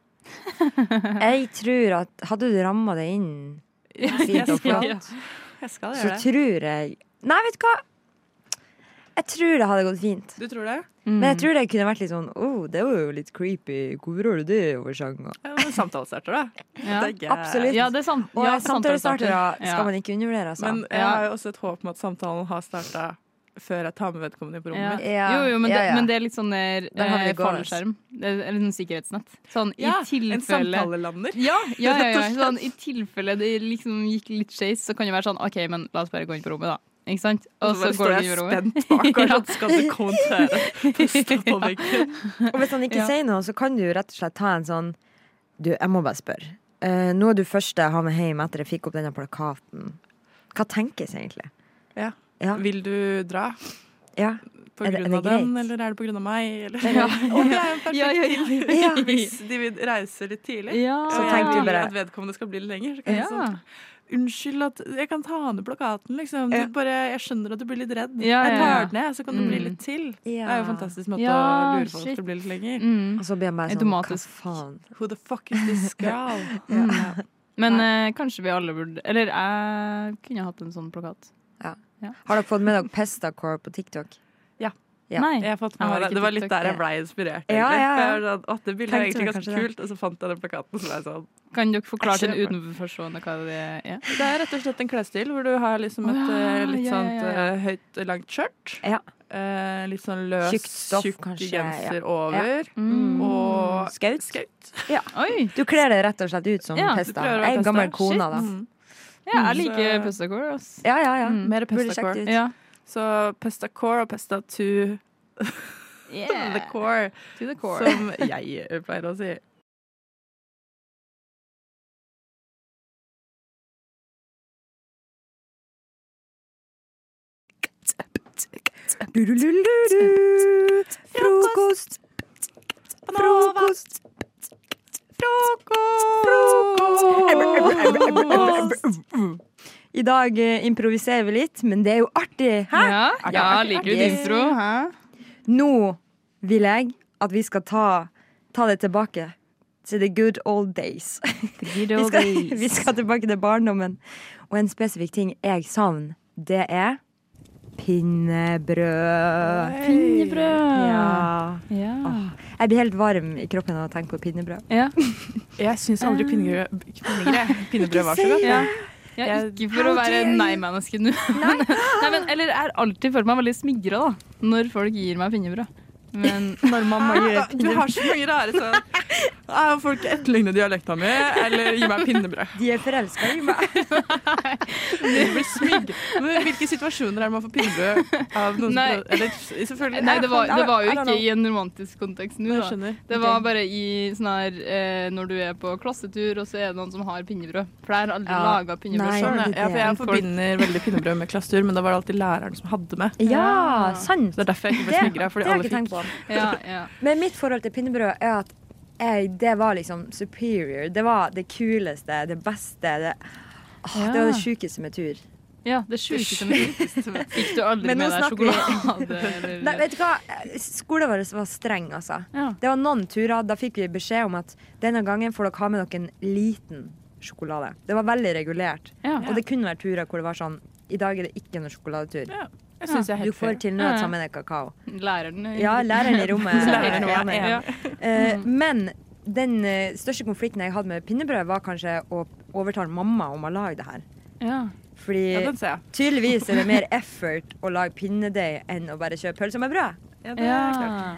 Speaker 15: Jeg tror at Hadde du ramma det inn fint og flott,
Speaker 12: Jeg skal
Speaker 15: så
Speaker 12: gjøre det.
Speaker 15: tror jeg Nei, vet du hva? Jeg tror det hadde gått fint.
Speaker 12: Du tror det?
Speaker 15: Men
Speaker 14: Mm.
Speaker 15: jeg tror det kunne vært litt sånn oh, det var jo litt creepy. Hvorfor har du det over sangen?
Speaker 12: Samtalestarter, da. Det er gøy.
Speaker 15: Absolutt. Og samtalestartere skal man ikke undervurdere, altså.
Speaker 12: Men jeg har jo også et håp om at samtalen har starta før jeg tar med vedkommende på
Speaker 14: Ja.
Speaker 12: rommet mitt.
Speaker 14: Jo, jo, men, det, men det er litt sånn der,
Speaker 12: Der har vi
Speaker 14: eh,
Speaker 12: det gående.
Speaker 14: fallskjerm. Det er- Eller sånn sikkerhetsnett. Sånn
Speaker 12: Ja,
Speaker 14: i
Speaker 12: en
Speaker 14: tilfelle
Speaker 12: samtalelander.
Speaker 14: Ja, ja, ja,
Speaker 12: Rett og
Speaker 14: ja.
Speaker 12: slett.
Speaker 14: Sånn, I tilfelle det liksom gikk litt skeis, så kan det være sånn OK, men la oss bare gå inn på rommet, da. Ikke sant?
Speaker 12: Og så bare står jeg spent bak og sånn, skal du kommentere? Puste på veggen.
Speaker 15: Og hvis han ikke
Speaker 12: Ja.
Speaker 15: sier noe, så kan du jo rett og slett ta en sånn Du, jeg må bare spørre. Eh, nå er du første jeg har med hjem etter jeg fikk opp denne plakaten. Hva tenkes egentlig?
Speaker 12: Ja.
Speaker 15: Ja.
Speaker 12: Vil du dra?
Speaker 15: Ja.
Speaker 12: På
Speaker 15: Er det- er
Speaker 12: grunn av
Speaker 15: det
Speaker 12: den,
Speaker 15: greit?
Speaker 12: eller er det på grunn av meg? Eller?
Speaker 15: Ja.
Speaker 12: Om det er en perfekt
Speaker 15: Ja, ja, ja, ja, ja.
Speaker 12: tid. Hvis de vil reise litt tidlig,
Speaker 15: Ja. Så
Speaker 12: og jeg
Speaker 15: tenker du
Speaker 12: vil
Speaker 15: bare-
Speaker 12: at vedkommende skal bli litt lenger, så kan jeg
Speaker 14: Ja.
Speaker 12: sånn Unnskyld at jeg kan ta ned plakaten, liksom. Du bare, jeg skjønner at du blir litt redd.
Speaker 14: Ja,
Speaker 12: Jeg
Speaker 14: ja, ja.
Speaker 12: tar den ned, så kan du bli
Speaker 14: Mm.
Speaker 12: litt til.
Speaker 14: Ja.
Speaker 12: Det er jo en fantastisk måte
Speaker 14: Ja,
Speaker 12: å lure folk
Speaker 14: shit.
Speaker 12: til å bli litt lenger.
Speaker 14: Mm.
Speaker 15: Og så blir jeg bare sånn,
Speaker 14: Automatisk.
Speaker 15: hva faen?
Speaker 12: Who the fuck is this girl?
Speaker 14: Mm. Men eh, kanskje vi alle burde Eller jeg kunne hatt en sånn plakat.
Speaker 15: Har dere fått med dere Pestacore på TikTok?
Speaker 12: Ja.
Speaker 15: Ja.
Speaker 12: Nei. Jeg har fått med
Speaker 15: Jeg har
Speaker 12: meg
Speaker 15: ikke
Speaker 12: det. Det var litt
Speaker 15: TikTok,
Speaker 12: der jeg
Speaker 15: ja.
Speaker 12: ble inspirert.
Speaker 15: Ja,
Speaker 12: egentlig.
Speaker 15: ja, ja.
Speaker 12: For jeg var Sånn, Å, det bildet er
Speaker 15: Tenkte
Speaker 12: egentlig
Speaker 15: meg
Speaker 12: ganske
Speaker 15: kanskje det.
Speaker 12: kult, og så fant jeg den plakaten. Så ble jeg sånn
Speaker 14: Kan dere forklare til en
Speaker 12: Jeg kjøper.
Speaker 14: utenforstående hva det er?
Speaker 12: Det er rett og slett en klesstil hvor du har liksom et
Speaker 14: Å, ja,
Speaker 12: eh, litt
Speaker 14: ja,
Speaker 12: sånt
Speaker 14: ja, ja.
Speaker 12: eh, høyt, langt skjørt. Eh, litt sånn løs,
Speaker 15: Tjukt stoff,
Speaker 12: tjukk
Speaker 15: kanskje,
Speaker 12: genser
Speaker 15: ja.
Speaker 12: over.
Speaker 15: Ja. Mm.
Speaker 12: Og
Speaker 15: Skaut. Du kler deg rett og slett ut som
Speaker 12: Ja, du
Speaker 15: Pesta.
Speaker 12: prøver å være
Speaker 15: Ei
Speaker 12: Pesta.
Speaker 15: gammel kone,
Speaker 12: Shit.
Speaker 15: da.
Speaker 12: Mm. Ja, jeg liker pestacore. ass.
Speaker 15: Ja, ja, ja.
Speaker 12: Mm. Mer
Speaker 15: Burde
Speaker 12: pestacore.
Speaker 15: sjekket ut.
Speaker 12: Ja. Så pestacore og pesta to the core,
Speaker 14: To the core.
Speaker 12: som jeg pleier å si.
Speaker 15: Du-du-du-du-du. Frokost. Frokost. Frokost. I dag eh, improviserer vi litt, men det er jo artig. Hæ?
Speaker 14: Ja,
Speaker 15: Artig,
Speaker 14: ja,
Speaker 15: artig,
Speaker 14: liker du
Speaker 15: artig.
Speaker 14: distro? Hæ?
Speaker 15: Nå vil jeg at vi skal ta, ta det tilbake til the good old days.
Speaker 10: good old
Speaker 15: vi, skal,
Speaker 10: days.
Speaker 15: vi skal tilbake til barndommen. Og en spesifikk ting jeg savner, det er pinnebrød.
Speaker 14: Pinnebrød.
Speaker 15: Ja.
Speaker 14: Ja.
Speaker 15: Åh, Jeg blir helt varm i kroppen av å tenke på pinnebrød.
Speaker 12: Jeg syns
Speaker 15: Mm.
Speaker 12: aldri pinnegrø- pinnegrød Pinnebrød var så godt.
Speaker 14: Ja. Ja, ikke for å være nei-menneske nå. Nei. men, eller jeg har alltid følt meg veldig smigra da, når folk gir meg pinnebrød. Men når mamma gir
Speaker 12: Ah, Du har så mange rare sånn ah, Folk etterligner dialekta mi, eller gir meg pinnebrød.
Speaker 15: De er forelska i meg.
Speaker 12: Det blir smygg. Men Hvilke situasjoner er det man får pinnebrød av noen
Speaker 14: Nei.
Speaker 12: som prøver- Eller s- selvfølgelig
Speaker 14: Nei, det var, det var jo
Speaker 12: I don't
Speaker 14: ikke i
Speaker 12: know.
Speaker 14: en romantisk kontekst nå,
Speaker 12: Jeg
Speaker 14: da.
Speaker 12: skjønner.
Speaker 14: Det var
Speaker 12: Ok.
Speaker 14: bare i sånn her eh, når du er på klassetur, og så er det noen som har pinnebrød. For jeg har aldri
Speaker 12: Ja.
Speaker 14: laga pinnebrød
Speaker 12: Nei,
Speaker 14: sjøl.
Speaker 12: sånn, ja, for jeg forbinder veldig pinnebrød med klassetur, men da var det alltid læreren som hadde med.
Speaker 15: Ja, sant.
Speaker 12: Så Det er derfor jeg ikke ble
Speaker 15: Det-
Speaker 12: smigra, fordi
Speaker 15: det har jeg
Speaker 12: alle
Speaker 15: ikke tenkt på.
Speaker 12: fikk.
Speaker 15: Men mitt forhold til pinnebrød er at jeg, det var liksom superior. Det var det kuleste, det beste. Det, Åh, det var det sjukeste med tur.
Speaker 14: Ja, det sjukeste med det. Fikk du aldri
Speaker 15: Men nå
Speaker 14: med deg
Speaker 15: snakker vi-
Speaker 14: sjokolade eller
Speaker 15: Nei, vet du hva? Skolen vår var streng, altså.
Speaker 14: Ja.
Speaker 15: Det var noen turer. Da fikk vi beskjed om at denne gangen får dere ha med dere en liten sjokolade. Det var veldig regulert.
Speaker 14: Ja.
Speaker 15: Og det kunne være turer hvor det var sånn I dag er det ikke noen sjokoladetur.
Speaker 14: Jeg synes jeg er
Speaker 15: du
Speaker 14: helt
Speaker 15: får
Speaker 14: fair.
Speaker 15: til
Speaker 14: Ja,
Speaker 15: nød
Speaker 14: ja.
Speaker 15: sammen med kakao.
Speaker 14: Læreren i-
Speaker 15: Ja, læreren i
Speaker 16: Eh,
Speaker 15: rommet. er
Speaker 14: Læreren i rommet,
Speaker 15: enig.
Speaker 14: ja.
Speaker 15: Eh,
Speaker 12: Mm.
Speaker 15: men den eh, største konflikten jeg hadde med pinnebrød, var kanskje å overtale mamma om å lage det her.
Speaker 14: Ja.
Speaker 15: Fordi
Speaker 12: Ja, den ser jeg.
Speaker 15: tydeligvis er det mer effort å lage pinnedeig enn å bare kjøpe pølse med brød.
Speaker 12: Ja, det er klart.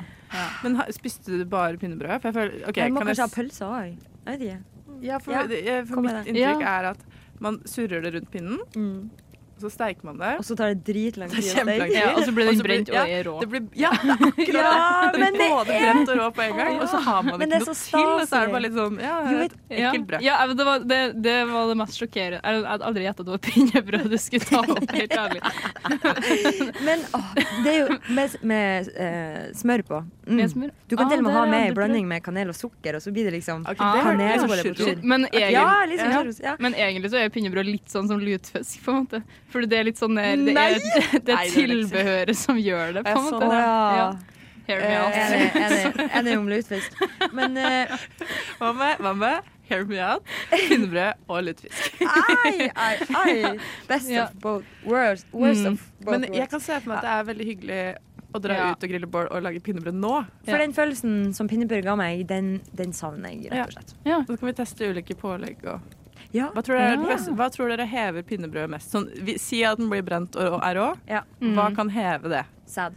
Speaker 12: Men ha- spiste du bare pinnebrød? For jeg føler OK,
Speaker 15: jeg må
Speaker 12: kan jeg
Speaker 15: kanskje
Speaker 12: s-
Speaker 15: ha pølse òg. Jeg vet ikke.
Speaker 12: Ja, for,
Speaker 15: Ja,
Speaker 12: det- jeg- for
Speaker 15: kom med
Speaker 12: mitt
Speaker 15: det. Mm.
Speaker 12: inntrykk
Speaker 15: Ja.
Speaker 12: er at man surrer det rundt pinnen, så steiker man det. Og
Speaker 15: så tar det dritlang
Speaker 12: tid.
Speaker 15: tid å steike.
Speaker 14: Ja, og så blir den brent og
Speaker 12: ja,
Speaker 14: er rå.
Speaker 12: det blir- ja, akkurat.
Speaker 15: Ja,
Speaker 12: det
Speaker 15: men
Speaker 12: blir
Speaker 15: det
Speaker 12: både
Speaker 15: er-
Speaker 12: brent og rå på en gang, og så har man
Speaker 14: Men
Speaker 12: ikke
Speaker 14: det
Speaker 12: noe
Speaker 14: er
Speaker 12: til, og
Speaker 14: så
Speaker 12: så er det
Speaker 14: staselig.
Speaker 12: bare litt sånn ja,
Speaker 14: Jo,
Speaker 12: et
Speaker 14: Ja,
Speaker 12: ekkelt brød.
Speaker 14: ja, men det, var, det, det var det mest sjokkerende. Jeg jeg hadde aldri gjetta at det var pinnebrød du skulle ta opp. helt ærlig.
Speaker 15: Men åh, det er jo med, med eh, smør på.
Speaker 14: Med smør?
Speaker 15: Du kan
Speaker 14: Ah,
Speaker 15: til og med
Speaker 14: det
Speaker 15: ha
Speaker 14: har jeg
Speaker 15: med
Speaker 14: aldri
Speaker 15: en blanding med kanel og sukker, og så blir det liksom
Speaker 14: Ah,
Speaker 15: kanelboller på
Speaker 14: shit.
Speaker 15: tur.
Speaker 14: Men, egentlig,
Speaker 15: Ja, liksom, ja.
Speaker 14: men egentlig så er pinnebrød litt sånn som lutfisk, på en måte. Fordi det er litt sånn der, det, er,
Speaker 12: Nei!
Speaker 14: det
Speaker 12: Nei,
Speaker 14: er
Speaker 12: det er liksom-
Speaker 14: tilbehøret som gjør det, på
Speaker 12: Jeg
Speaker 14: en
Speaker 12: så
Speaker 14: måte.
Speaker 12: det.
Speaker 14: Ja. Hear me out.
Speaker 15: Eh, Enig, enig, enig om lutfisk. Men eh,
Speaker 12: Hva med, hva med hear me out, pinnebrød og lutefisk?
Speaker 15: Ai, ai, ai. Best
Speaker 12: Ja.
Speaker 15: of both worlds. Worst
Speaker 12: Mm.
Speaker 15: of both
Speaker 12: Men jeg
Speaker 15: worlds.
Speaker 12: kan se for meg at det er veldig hyggelig å dra
Speaker 15: Ja.
Speaker 12: ut og grille bål og lage pinnebrød nå.
Speaker 15: For den følelsen som pinnebrød ga meg, den, den savner jeg, rett og slett.
Speaker 14: Ja.
Speaker 12: Så kan vi teste ulike pålegg og
Speaker 15: Ja.
Speaker 12: hva tror, dere, er det
Speaker 15: Ja.
Speaker 12: beste- hva tror dere hever pinnebrødet mest? Sånn, vi, si at den blir brent og og er rå. Hva
Speaker 15: Mm.
Speaker 12: kan heve det?
Speaker 15: Sad.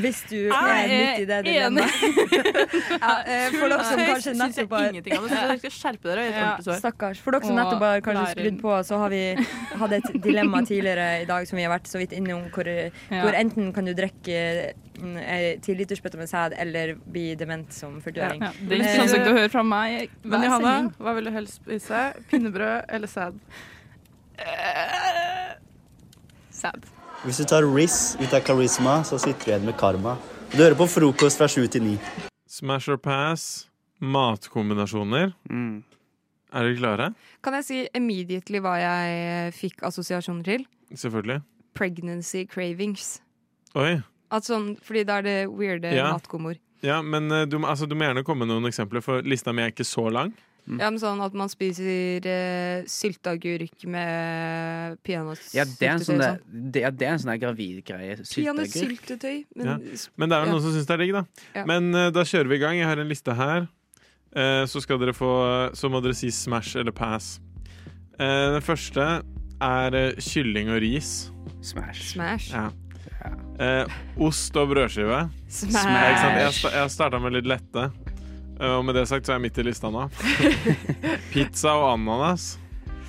Speaker 15: Hvis du er
Speaker 12: Jeg
Speaker 15: midt i det
Speaker 12: er
Speaker 15: dilemmaet. ja, eh, for dere som
Speaker 12: Tull,
Speaker 15: kanskje
Speaker 12: syns jeg
Speaker 15: nettopp har
Speaker 12: ingenting om det. Så dere skal skjerpe dere og gjøre et
Speaker 15: Ja,
Speaker 12: ordentlig svar.
Speaker 15: Stakkars. For dere som nettopp har kanskje skrudd på, så har vi hatt et dilemma tidligere i dag som vi har vært så vidt innom, hvor, hvor enten kan du drikke mm, ei tilitersbøtte med sæd eller bli dement som Eh, 40-åring.
Speaker 14: Ja, det er ikke sånn som du hører fra meg.
Speaker 12: Men
Speaker 14: hver
Speaker 12: Johanna,
Speaker 14: sending.
Speaker 12: hva vil du helst spise? Pinnebrød eller sæd?
Speaker 14: Sad.
Speaker 3: Hvis du tar Riz ut av karisma, så sitter du igjen med karma. Du hører på frokost fra sju til ni.
Speaker 5: Smash or pass, matkombinasjoner.
Speaker 11: Mm.
Speaker 5: Er dere klare?
Speaker 17: Kan jeg si immediately hva jeg eh, fikk assosiasjoner til?
Speaker 5: Selvfølgelig.
Speaker 17: Pregnancy cravings.
Speaker 5: Oi.
Speaker 17: At sånn, fordi da er det weirde
Speaker 5: Ja.
Speaker 17: matkomboer.
Speaker 5: Ja, men eh, du, må- altså, du må gjerne komme med noen eksempler, for lista mi er ikke så lang.
Speaker 11: Mm.
Speaker 17: Ja, men sånn at man spiser eh, sylteagurk med peanøttsyltetøy.
Speaker 18: Ja, det er en
Speaker 17: og
Speaker 18: sånn, der- det, ja, det er en sånn der gravidgreie. Sylteagurk.
Speaker 17: Peanøttsyltetøy.
Speaker 5: Ja.
Speaker 17: Men
Speaker 5: Men det er jo
Speaker 17: ja.
Speaker 5: noen som syns det er digg, da.
Speaker 17: Ja.
Speaker 5: Men eh, da kjører vi i gang. Jeg har en liste her. Eh, så skal dere få Så må dere si smash eller pass. Eh, den første er eh, kylling og ris.
Speaker 18: Smash.
Speaker 17: Smash.
Speaker 5: Ja. Eh, ost og brødskive.
Speaker 17: Smash.
Speaker 5: Ja, ikke sant? Jeg, sta- jeg starta med litt lette. Eh, og med det sagt så er jeg midt i lista nå. Pizza og ananas.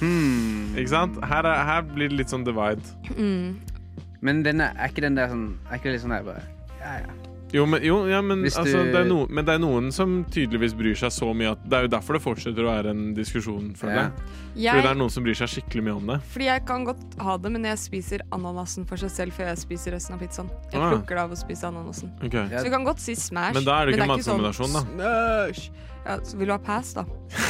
Speaker 18: Hmm.
Speaker 5: Ikke sant? Her, er, her blir det litt sånn divide. Mm.
Speaker 18: Men den er, er ikke den der sånn Er ikke det litt sånn der bare Ja, ja.
Speaker 5: Jo, men, jo, ja, men,
Speaker 18: Hvis
Speaker 5: altså,
Speaker 18: du-
Speaker 5: det er noen, men det er noen som tydeligvis bryr seg så mye at Det er jo derfor det fortsetter å være en diskusjon, føler
Speaker 17: Ja.
Speaker 5: jeg.
Speaker 17: Jeg-
Speaker 5: Fordi det er noen som bryr seg skikkelig mye om det.
Speaker 17: Fordi jeg kan godt ha det, men jeg spiser ananasen for seg selv før jeg spiser resten av pizzaen. Jeg
Speaker 5: Ah.
Speaker 17: plukker det av å spise ananasen.
Speaker 5: Ok.
Speaker 17: Så vi kan godt si smash.
Speaker 5: Men da er det ikke
Speaker 17: sånn
Speaker 5: matkombinasjon, da.
Speaker 17: Smash! Ja, så vil du ha pass, da?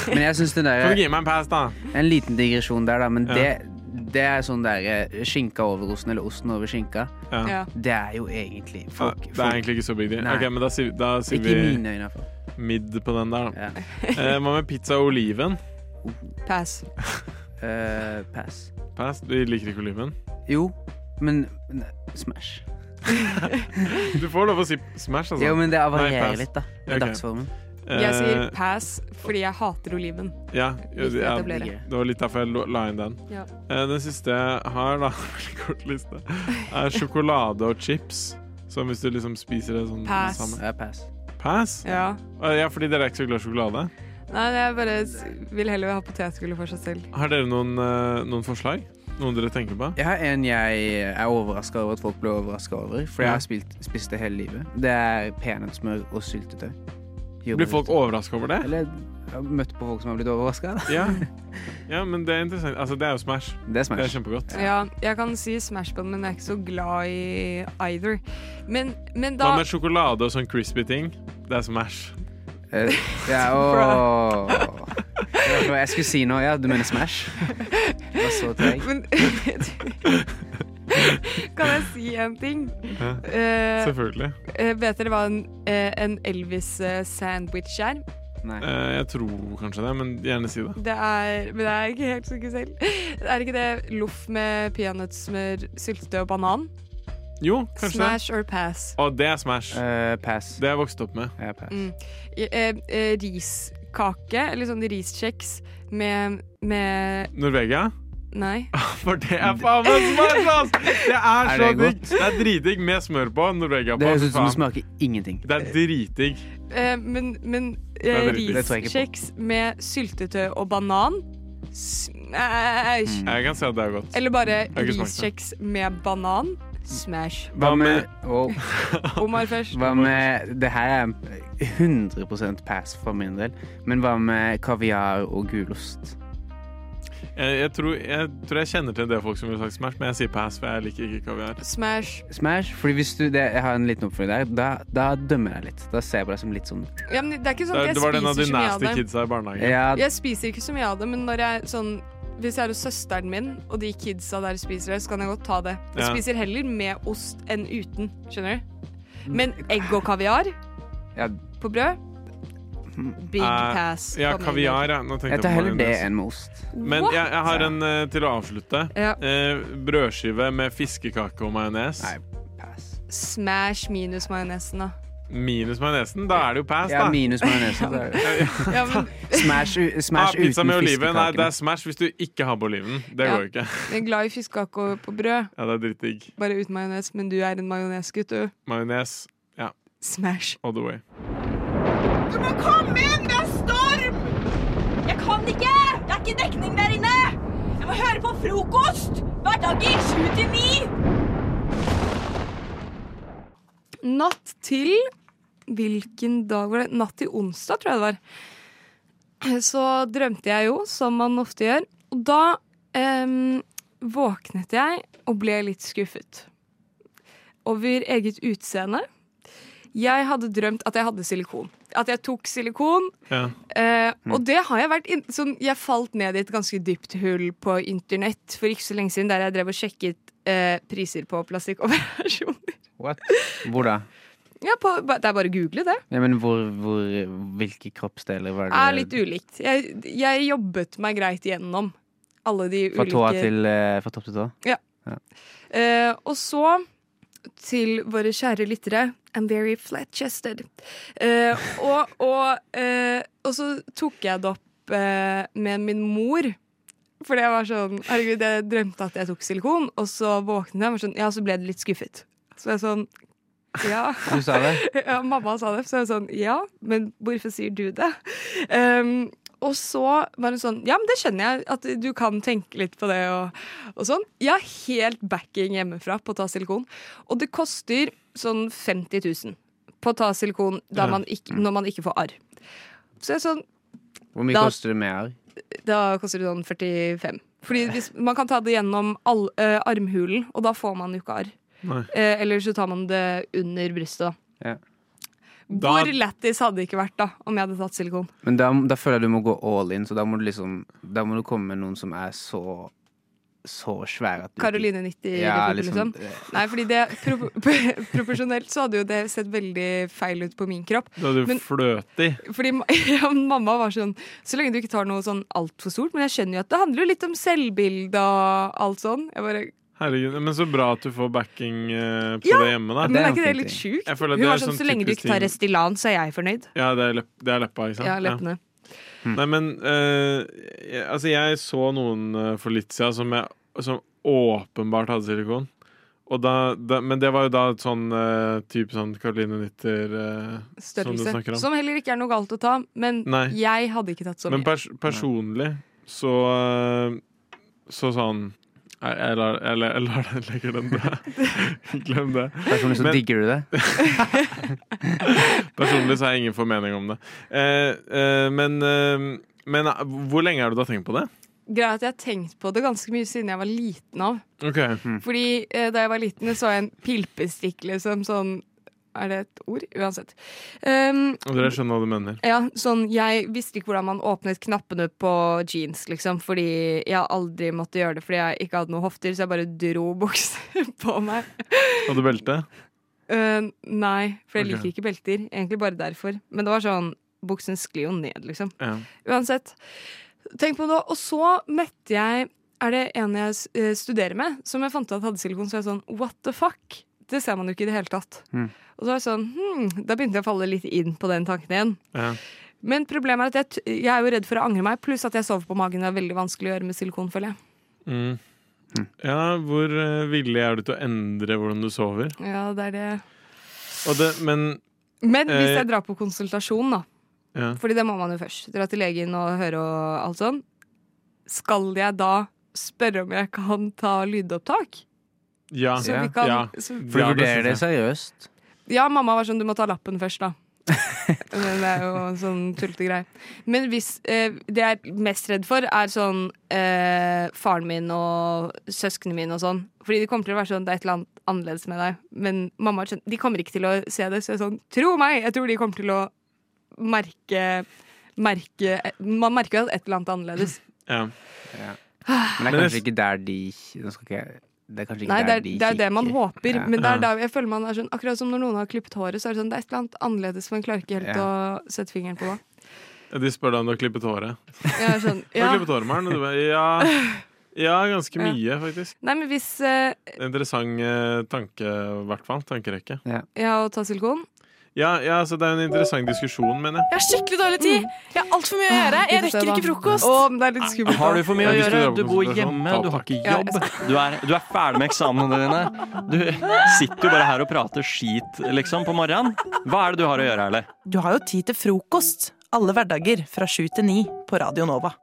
Speaker 18: Men jeg syns den der
Speaker 5: Kan du gi meg en pass, da?
Speaker 18: En liten digresjon der, da. Men
Speaker 5: Ja.
Speaker 18: det, det er sånn der eh, skinka over osten, eller osten over skinka.
Speaker 5: Ja. Ja.
Speaker 18: Det er jo egentlig folk,
Speaker 5: Ja, det er
Speaker 18: folk
Speaker 5: egentlig ikke så big deal.
Speaker 18: Nei.
Speaker 5: Ok, men da sier, da sier
Speaker 18: Ikke i
Speaker 5: vi
Speaker 18: mine øyne, i hvert fall.
Speaker 5: midd på den der, da. Eh, Hva med pizza og oliven?
Speaker 17: Pass.
Speaker 18: pass.
Speaker 5: Pass? Du liker ikke oliven?
Speaker 18: Jo, men men, Smash.
Speaker 5: Du får lov å si smash, altså.
Speaker 18: Jo, men det
Speaker 5: Nei,
Speaker 18: varierer
Speaker 5: pass.
Speaker 18: litt, da, med
Speaker 5: Ja, ok.
Speaker 18: dagsformen.
Speaker 17: Jeg sier
Speaker 5: Eh,
Speaker 17: pass fordi jeg hater oliven.
Speaker 5: Ja, jo,
Speaker 17: Viktig å
Speaker 5: ja,
Speaker 17: etablere.
Speaker 5: det var litt derfor jeg lo- la inn den.
Speaker 17: Ja.
Speaker 5: Eh, Den siste jeg har, da, veldig kort liste, er sjokolade og chips. Som hvis du liksom spiser det sånn
Speaker 17: Pass.
Speaker 5: sammen.
Speaker 18: Ja, pass.
Speaker 5: Pass?
Speaker 17: Ja.
Speaker 5: Eh, ja, fordi dere er ikke så glad i sjokolade.
Speaker 17: Nei, jeg bare s- vil heller ha potetgull for seg selv.
Speaker 5: Har dere noen, eh, noen forslag? Noen dere tenker på?
Speaker 18: Jeg har en jeg er overraska over at folk blir overraska over, for jeg har spilt, spist det hele livet. Det er peanøttsmør og syltetøy.
Speaker 5: Blir folk overraska over det?
Speaker 18: Eller jeg har møtt på folk som har blitt overraska.
Speaker 5: Ja. ja, men det er interessant. Altså, det er jo Smash.
Speaker 18: Det er Smash.
Speaker 5: kjempegodt.
Speaker 17: Ja, jeg kan si Smash Bun, men jeg er ikke så glad i either. Men, men da
Speaker 5: Hva med sjokolade og sånn crispy ting? Det er Smash.
Speaker 18: Ja, og Det var hva jeg skulle si nå. Ja, du mener Smash? Det var så treig.
Speaker 17: Men kan jeg si en ting?
Speaker 5: Ja,
Speaker 17: Eh,
Speaker 5: Selvfølgelig.
Speaker 17: eh, vet dere hva en, eh, en Elvis-sandwich er?
Speaker 5: Eh, jeg tror kanskje det, men gjerne si det.
Speaker 17: Det er Men jeg er ikke helt sikker selv. Er ikke det loff med peanøttsmør, syltetøy og banan?
Speaker 5: Jo, kanskje
Speaker 17: Smash
Speaker 5: det.
Speaker 17: or pass?
Speaker 5: Å, det er Smash.
Speaker 18: Eh, pass.
Speaker 5: Det er jeg vokst opp med.
Speaker 17: Mm. I- Eh, eh, riskake, eller sånn riskjeks med, med
Speaker 5: Norvegia?
Speaker 17: Nei.
Speaker 5: For det er faen meg Smash, ass! Det er
Speaker 18: Er
Speaker 5: så digg.
Speaker 18: det godt?
Speaker 5: Det er dritdigg med smør på. Norvegia på.
Speaker 18: Det høres ut som det
Speaker 5: faen.
Speaker 18: smaker ingenting.
Speaker 5: Det er dritdigg.
Speaker 17: Eh, men men
Speaker 5: Det
Speaker 17: eh,
Speaker 5: er veldig- det tror jeg ikke på.
Speaker 17: riskjeks med syltetøy og banan? S- Æsj.
Speaker 5: Jeg kan si at det er godt.
Speaker 17: Eller bare
Speaker 5: Mm. Jeg har ikke smakt det.
Speaker 17: riskjeks med banan. Smash.
Speaker 18: Hva med wow.
Speaker 17: Omar først.
Speaker 18: Hva med Det her er 100 pass for min del. Men hva med kaviar og gulost?
Speaker 5: Jeg, jeg, tror, jeg tror jeg kjenner til det folk som ville sagt Smash, men jeg sier pass, for jeg liker ikke kaviar.
Speaker 17: Smash.
Speaker 18: Smash? Fordi hvis du det, Jeg har en liten oppfølging der. Da, da dømmer jeg litt. Da ser jeg på deg som litt sånn
Speaker 17: Ja, men det er ikke sånn
Speaker 5: Det,
Speaker 17: at jeg
Speaker 5: det var den av de
Speaker 17: spiser så mye av
Speaker 5: nasty
Speaker 17: det.
Speaker 5: kidsa i barnehagen.
Speaker 18: Ja.
Speaker 17: Jeg spiser ikke så mye av det, men når jeg sånn hvis jeg er hos søsteren min, og de kidsa der spiser det, så kan jeg godt ta det. Jeg
Speaker 5: Ja.
Speaker 17: spiser heller med ost enn uten, skjønner du? Men egg og kaviar
Speaker 18: Ja.
Speaker 17: på brød Big
Speaker 5: Eh,
Speaker 17: pass.
Speaker 5: Ja,
Speaker 17: for min
Speaker 5: kaviar,
Speaker 17: del.
Speaker 5: ja. Nå tenkte
Speaker 18: Jeg tar heller det
Speaker 5: majones.
Speaker 18: enn med ost.
Speaker 5: Men jeg, jeg har en eh, til å avslutte.
Speaker 17: Ja.
Speaker 5: Eh, brødskive med fiskekake og majones.
Speaker 17: Smash minus majonesen, da.
Speaker 5: Minus majonesen, da er det jo pass, da.
Speaker 18: Ja, minus majonesen, så er det-
Speaker 17: Ja, men
Speaker 18: Smash, u- smash
Speaker 5: ah, pizza
Speaker 18: uten
Speaker 5: med oliven. Nei, det
Speaker 18: fiskekakene.
Speaker 5: er smash hvis du ikke har på oliven. Det
Speaker 17: Ja.
Speaker 5: går jo ikke.
Speaker 17: jeg er glad i fiskekake og- på brød,
Speaker 5: Ja, det er drittdigg.
Speaker 17: bare uten majones, men du er en majonesgutt, du.
Speaker 5: Majones. Ja.
Speaker 17: Smash.
Speaker 5: All the way.
Speaker 16: Du må komme inn! Det er storm! Jeg kan ikke! Det er ikke dekning der inne! Jeg må høre på frokost! Hverdager 7 til 9!
Speaker 17: Natt til Hvilken dag var det? Natt til onsdag, tror jeg det var. Så drømte jeg jo, som man ofte gjør. Og da em, våknet jeg og ble litt skuffet over eget utseende. Jeg hadde drømt at jeg hadde silikon. At jeg tok silikon.
Speaker 5: Ja.
Speaker 17: Eh, og det har jeg vært inn, sånn, Jeg falt ned i et ganske dypt hull på internett for ikke så lenge siden, der jeg drev og sjekket eh, priser på plastikkoperasjoner.
Speaker 18: What? Hvor da?
Speaker 17: Ja, på, ba- det er bare å google det.
Speaker 18: Ja, men hvor, hvor, hvilke kroppsdeler var det?
Speaker 17: Er litt ulikt. Jeg, jeg jobbet meg greit gjennom alle de
Speaker 18: Fra tåa
Speaker 17: ulike
Speaker 18: til eh, Fra topp til tå?
Speaker 17: Ja. Eh, og så til våre kjære lyttere. I'm very flat-chested. Eh, og, og, eh, og så tok jeg det opp eh, med min mor. Fordi jeg var sånn Herregud, jeg drømte at jeg tok silikon, og så våknet jeg og var sånn, ja, så ble det litt skuffet. Så jeg sånn ja.
Speaker 18: Du sa det?
Speaker 17: ja, mamma sa det. Så jeg var sånn Ja, men hvorfor sier du det? Ehm, og så var hun sånn Ja, men det skjønner jeg. At du kan tenke litt på det og, og sånn. Jeg har helt backing hjemmefra på å ta silikon. Og det koster sånn 50 000 på å ta silikon da
Speaker 18: Ja.
Speaker 17: man ikke, når man ikke får arr. Så jeg er sånn
Speaker 18: Hvor mye
Speaker 17: Da-
Speaker 18: koster det med arr?
Speaker 17: Da koster det sånn 45. Fordi hvis, man kan ta det gjennom all, eh, armhulen, og da får man jo ikke arr.
Speaker 5: Nei.
Speaker 17: Eh, eller så tar man det under brystet, da.
Speaker 18: Ja.
Speaker 17: Hvor lættis hadde det ikke vært da om jeg hadde tatt silikon?
Speaker 18: Men da, da føler jeg du må gå all in, så da må du liksom Da må du komme med noen som er så så svære at du
Speaker 17: Karoline 90
Speaker 18: Ja,
Speaker 17: eller
Speaker 18: liksom,
Speaker 17: liksom. Nei, fordi det pro proporsjonelt så hadde jo det sett veldig feil ut på min kropp.
Speaker 5: Da er du
Speaker 17: Men-
Speaker 5: fløtig.
Speaker 17: fordi ma- ja, men mamma var sånn Så lenge du ikke tar noe sånn altfor stort. Men jeg skjønner jo at det handler jo litt om selvbilde og alt sånn. Jeg bare
Speaker 5: Herregud, Men så bra at du får backing eh, på
Speaker 17: Ja,
Speaker 5: det hjemme, da.
Speaker 17: Men er ikke det litt sjukt?
Speaker 5: Jeg føler
Speaker 17: Hun
Speaker 5: det
Speaker 17: var
Speaker 5: er
Speaker 17: sånn,
Speaker 5: sånn
Speaker 17: Så lenge du
Speaker 5: typisk
Speaker 17: ikke tar
Speaker 5: ting-
Speaker 17: Restylane, så er jeg fornøyd.
Speaker 5: Ja, det er, lepp, det er leppa, ikke sant?
Speaker 17: Ja, leppene.
Speaker 5: Nei, men eh, jeg, altså jeg så noen eh, for litt siden som, jeg, som åpenbart hadde silikon. Og da, da, men det var jo da et sånn eh, type sånn Caroline Nitter eh, som du
Speaker 17: Størrelse.
Speaker 5: snakker
Speaker 17: Som,
Speaker 5: om.
Speaker 17: heller ikke er noe galt å ta, men
Speaker 5: Nei.
Speaker 17: jeg hadde ikke tatt så
Speaker 5: men
Speaker 17: mye.
Speaker 5: pers personlig så eh, Så sånn Nei, jeg lar, jeg, lar- jeg lar den legger den død. Glem det.
Speaker 18: Personlig så digger du det.
Speaker 5: Personlig så har jeg ingen formening om det. Eh, eh, men eh, men eh, hvor lenge har du da tenkt på det?
Speaker 17: Greia er at jeg har tenkt på det ganske mye siden jeg var liten av.
Speaker 5: Ok.
Speaker 17: Fordi eh, da jeg var liten, så jeg en pilpestikk, liksom. Sånn Er det et ord? Uansett. Um,
Speaker 5: Og dere skjønner hva du mener.
Speaker 17: ja, sånn, jeg visste ikke hvordan man åpnet knappene på jeans, liksom, fordi jeg aldri måtte gjøre det fordi jeg ikke hadde noen hofter, så jeg bare dro bukser på meg.
Speaker 5: Hadde belte?
Speaker 17: Eh, nei, for jeg
Speaker 5: Ok.
Speaker 17: liker ikke belter. Egentlig bare derfor. Men det var sånn, buksen sklir jo ned, liksom.
Speaker 5: Ja.
Speaker 17: Uansett. Tenk på det. Og så møtte jeg Er det en jeg eh, studerer med, som jeg fant ut at hadde silikon, så jeg sånn What the fuck? Det ser man jo ikke i det hele tatt. Og så var jeg sånn, hmm, Da begynte jeg å falle litt inn på den tanken igjen.
Speaker 5: Ja.
Speaker 17: Men problemet er at jeg, t- jeg er jo redd for å angre meg, pluss at jeg sover på magen. Det er veldig vanskelig å gjøre med silikon, føler jeg.
Speaker 5: Mm. Ja, hvor eh, villig er du til å endre hvordan du sover?
Speaker 17: Ja, det er det.
Speaker 5: Og det, men
Speaker 17: Men hvis
Speaker 5: eh,
Speaker 17: jeg drar på konsultasjon, da,
Speaker 5: ja.
Speaker 17: Fordi det må man jo først. Dra til legen og høre og alt sånn. Skal jeg da spørre om jeg kan ta lydopptak?
Speaker 5: ja.
Speaker 17: så vi
Speaker 5: Altså,
Speaker 17: kan-
Speaker 5: ja.
Speaker 17: så-
Speaker 18: For du
Speaker 5: Ja, det
Speaker 18: vurderer det
Speaker 5: synes jeg.
Speaker 18: seriøst?
Speaker 17: Ja, mamma var sånn du må ta lappen først, da. Men det er jo en sånn tullete greie. Men hvis eh, det jeg er mest redd for, er sånn eh, faren min og søsknene mine og sånn. Fordi de kommer til å være sånn det er et eller annet annerledes med deg. Men mamma er sånn, de kommer ikke til å se det, så jeg er sånn tro meg! Jeg tror de kommer til å merke, merke eh, Man merker jo at et eller annet er annerledes.
Speaker 5: Ja.
Speaker 18: Men det
Speaker 5: Men
Speaker 18: er
Speaker 5: det-
Speaker 18: kanskje ikke der de nå skal ikke, jeg- Det er kanskje ikke
Speaker 17: Nei, det
Speaker 18: der
Speaker 17: er,
Speaker 18: de
Speaker 17: det er jo det man
Speaker 18: kikker.
Speaker 17: håper,
Speaker 18: Ja.
Speaker 17: men det er da jeg føler man er sånn Akkurat som når noen har klippet håret, så er det sånn det er et eller annet annerledes, man klarer ikke helt
Speaker 5: Ja.
Speaker 17: å sette fingeren på det.
Speaker 5: De spør deg om du har klippet håret.
Speaker 17: Jeg er sånn,
Speaker 5: Har
Speaker 17: ja.
Speaker 5: du klippet håret, Maren? Og du bare ja. ja, ganske
Speaker 17: Ja.
Speaker 5: mye, faktisk.
Speaker 17: Nei, men hvis eh,
Speaker 5: Det er Interessant eh, tanke, i hvert fall. Tankerekke.
Speaker 18: Ja.
Speaker 17: Ja, å ta silikon?
Speaker 5: Ja, så det er en interessant diskusjon, mener
Speaker 17: Jeg
Speaker 5: jeg.
Speaker 17: har skikkelig dårlig
Speaker 12: Mm.
Speaker 7: tid. Jeg har altfor mye å gjøre.
Speaker 17: Ah, vi
Speaker 7: Jeg
Speaker 17: får se
Speaker 7: rekker ikke
Speaker 17: da.
Speaker 7: frokost.
Speaker 17: Å, men det er litt skummelt.
Speaker 19: Har du for mye å
Speaker 5: Hvis du
Speaker 19: gjøre?
Speaker 5: jobber
Speaker 19: Du bor
Speaker 5: på konsentrasjon,
Speaker 19: hjemme, du har ikke
Speaker 17: Ja, jeg
Speaker 19: jobb. Du er, du er ferdig med eksamene dine. Du sitter jo bare her og prater skit, liksom, på morgenen. Hva er det du har å gjøre, Erle?
Speaker 9: Du har jo tid til frokost alle hverdager fra sju til ni på Radio Nova.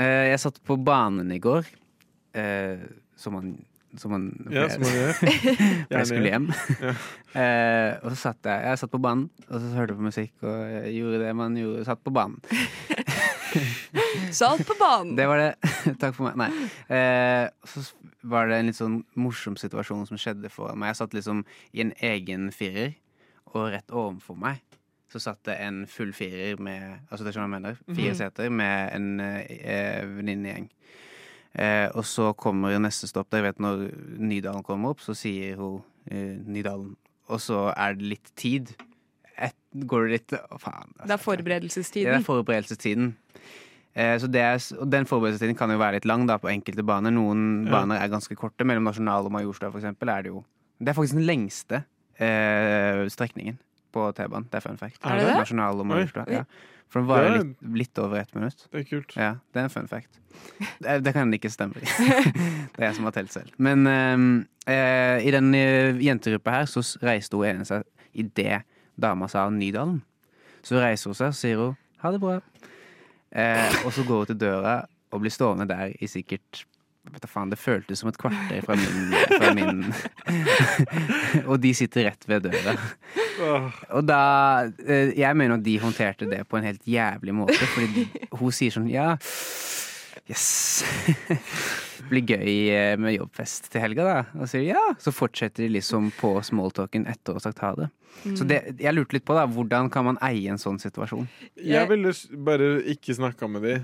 Speaker 18: Eh, jeg satt på banen i går, eh, som man som man,
Speaker 5: Ja, som man gjør.
Speaker 18: For
Speaker 5: Gjerne
Speaker 18: jeg skulle hjem.
Speaker 5: gjør.
Speaker 18: Eh, og så satt jeg Jeg satt på banen, og så hørte jeg på musikk og jeg gjorde det man gjorde. Satt på banen.
Speaker 17: Salt på banen!
Speaker 18: Det var det. Takk for meg. Nei. Eh, så s- var det en litt sånn morsom situasjon som skjedde foran meg. Jeg satt liksom i en egen firer, og rett ovenfor meg så satt det en full firer med Altså, det skjønner jeg mener. Fire
Speaker 19: Mhm.
Speaker 18: seter med en eh, venninnegjeng. Eh, og så kommer jo neste stopp. da Jeg vet når Nydalen kommer opp, så sier hun eh, Nydalen. Og så er det litt tid. Et, går det litt Å, faen. altså.
Speaker 17: Det er
Speaker 18: Det
Speaker 17: forberedelsestiden.
Speaker 18: er forberedelsestiden. Eh, Så det er, s- og den forberedelsestiden kan jo være litt lang da, på enkelte baner. Noen
Speaker 17: Ja.
Speaker 18: baner er ganske korte. Mellom Nasjonal og Majorstua for eksempel, er det jo Det er faktisk den lengste eh, strekningen på T-banen. Det er fun fact.
Speaker 5: Er det det?
Speaker 18: Nasjonal
Speaker 5: Oi.
Speaker 18: og Majorstua. Ja. For den
Speaker 5: Det
Speaker 18: varer
Speaker 5: er-
Speaker 18: litt, litt over ett minutt.
Speaker 5: Det er kult.
Speaker 18: Ja, det er en fun fact. Det, det kan ikke stemme. det er jeg som har telt selv. Men ehm, eh, i den eh, jentegruppa her så s- reiste hun ene seg idet dama sa Nydalen. Så reiser hun seg og sier hun ha det bra. Eh, og så går hun til døra og blir stående der i sikkert vet da faen, Det føltes som et kvarter fra min, fra min Og de sitter rett ved døra. Og da eh, Jeg mener at de håndterte det på en helt jævlig måte, fordi hun sier sånn Ja, yes. Blir gøy eh, med jobbfest til helga, da. Og sier ja. Så fortsetter de liksom på smalltalken etter å ha sagt ha det. Så
Speaker 5: Mm.
Speaker 18: det, jeg lurte litt på, da. Hvordan kan man eie en sånn situasjon?
Speaker 5: Jeg ville s- bare ikke snakka med de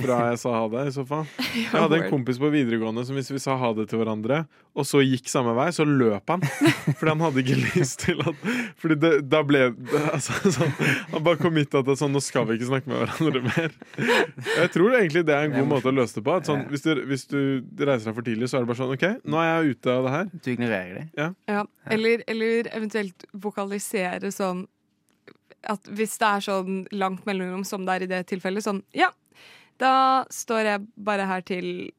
Speaker 5: fra jeg sa ha det, i så fall. Jeg hadde en
Speaker 18: word.
Speaker 5: kompis på videregående som hvis vi sa ha det til hverandre, og så gikk samme vei, så løp han. Fordi han hadde ikke lyst til at Fordi det, da ble det, altså, sånn, Han bare kom hit at det er sånn, nå skal vi ikke snakke med hverandre mer. Jeg tror egentlig det er en god måte å løse det på. At sånn, hvis, du, hvis du reiser deg for tidlig, så er det bare sånn OK, nå er jeg ute av det her.
Speaker 18: Du ignorerer det?
Speaker 5: Ja.
Speaker 17: Ja. Eller, eller eventuelt vokalisere sånn at hvis det er sånn langt mellomrom som det er i det tilfellet, sånn ja, da står jeg bare her til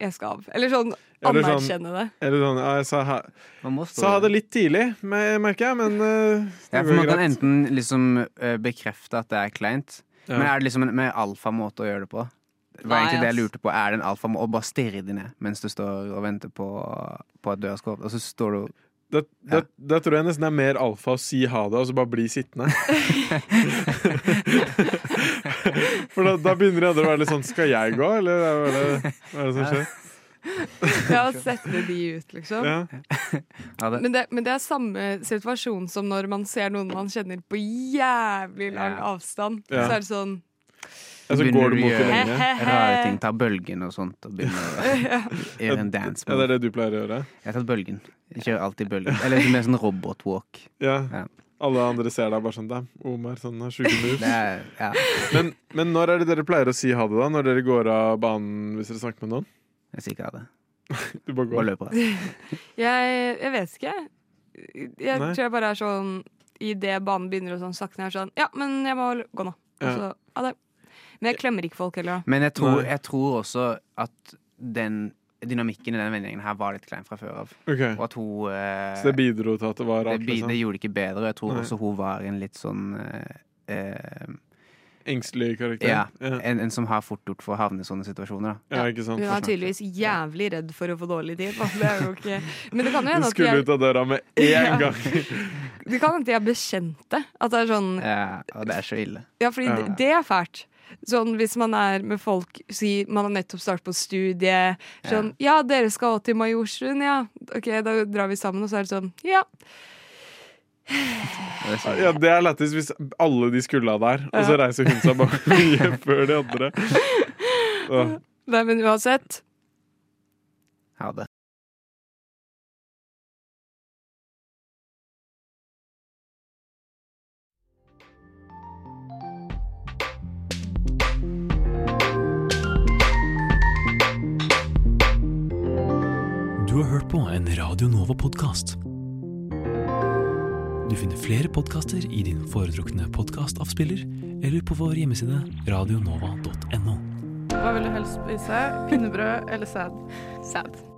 Speaker 17: jeg skal av. Eller sånn
Speaker 5: Eller sånn-
Speaker 17: anerkjenne det.
Speaker 5: Eller sånn, ja, jeg sa ha,
Speaker 18: stå
Speaker 5: sa ha det litt tidlig, me- merker jeg, men eh, det
Speaker 18: Ja, for
Speaker 5: går
Speaker 18: man kan
Speaker 5: greit.
Speaker 18: enten liksom eh, bekrefte at det er kleint,
Speaker 5: Ja.
Speaker 18: men er det liksom en med alfamåte å gjøre det på? Det var
Speaker 5: Nei,
Speaker 18: egentlig det jeg
Speaker 5: ass.
Speaker 18: lurte på. Er det en alfamåte å bare stirre de ned mens du står og venter på, på at døra skal åpne, og så står du
Speaker 5: Da, da, da tror jeg nesten det er mer alfa å si ha det og så bare bli sittende. For da, da begynner de andre å være litt sånn Skal jeg gå, eller hva er det, hva er det som skjer?
Speaker 17: Ja, sette de ut, liksom.
Speaker 5: Ja.
Speaker 17: Men det, men det er samme situasjon som når man ser noen man kjenner på jævlig lang
Speaker 18: Ja.
Speaker 17: avstand.
Speaker 18: Ja.
Speaker 17: Så er det sånn
Speaker 18: Så
Speaker 5: går
Speaker 18: begynner eh,
Speaker 5: du mot
Speaker 18: å
Speaker 5: det
Speaker 18: gjøre
Speaker 17: lenge.
Speaker 18: Rare ting. Ta bølgen og sånt. Og begynner å gjøre en dance
Speaker 5: Ja, det er det du pleier å gjøre?
Speaker 18: Jeg har tatt bølgen. Jeg kjører alltid bølgen. Eller mer sånn robotwalk.
Speaker 5: Ja. Alle andre ser deg bare sånn Damn, Omar sånn har sjuke moves.
Speaker 18: Det er- ja.
Speaker 5: men, men når er det dere pleier å si ha det, da? Når dere går av banen hvis dere snakker med noen?
Speaker 18: Jeg sier ikke ha det.
Speaker 5: Du bare går.
Speaker 18: Bare løper
Speaker 17: Jeg, jeg vet ikke. Jeg
Speaker 5: Nei.
Speaker 17: tror jeg bare er sånn Idet banen begynner å sånn sakte ned, er sånn Ja, men jeg må gå nå. Og
Speaker 18: Ja.
Speaker 17: så, ha det. Men jeg klemmer ikke folk heller. da.
Speaker 18: Men jeg tror, jeg tror også at den dynamikken i den vendingen her var litt klein fra før av.
Speaker 5: Ok.
Speaker 18: Og at hun eh,
Speaker 5: Så det bidro til at det var rart,
Speaker 18: Det, bi-
Speaker 5: liksom?
Speaker 18: det gjorde det ikke bedre. og Jeg tror
Speaker 5: Nei.
Speaker 18: også hun var en litt sånn eh, eh,
Speaker 5: Engstelig karakter?
Speaker 18: Ja. En, en som har fort gjort for å havne i sånne situasjoner. Da.
Speaker 5: Ja, ikke sant? sånn,
Speaker 17: Hun er tydeligvis jævlig redd for å få dårlig tid. da. Det er jo ikke Men det kan jo
Speaker 5: Hun
Speaker 17: hende at de
Speaker 5: skulle
Speaker 17: er,
Speaker 5: ut av døra med én
Speaker 17: Ja.
Speaker 5: gang!
Speaker 17: det kan hende de er bekjente. At det er sånn
Speaker 18: Ja, eh, og det er så ille.
Speaker 17: Ja, fordi
Speaker 18: Ja.
Speaker 17: det- det er fælt. Sånn hvis man er med folk, si man har nettopp startet på studie, sånn Ja, dere skal også til Majorstuen, ja. Ok, da drar vi sammen, og så er det sånn Ja.
Speaker 5: Ja, det er lættis hvis alle de skulle ha der, og så
Speaker 17: Ja.
Speaker 5: reiser hun seg bare mye før de andre. Åh.
Speaker 17: Nei, men uansett.
Speaker 18: Ha det.
Speaker 20: Du har hørt på en Radio Nova-podkast. Du finner flere podkaster i din foretrukne podkastavspiller eller på vår hjemmeside radionova.no.
Speaker 21: Hva vil du helst spise? Pinnebrød eller sæd? Sæd.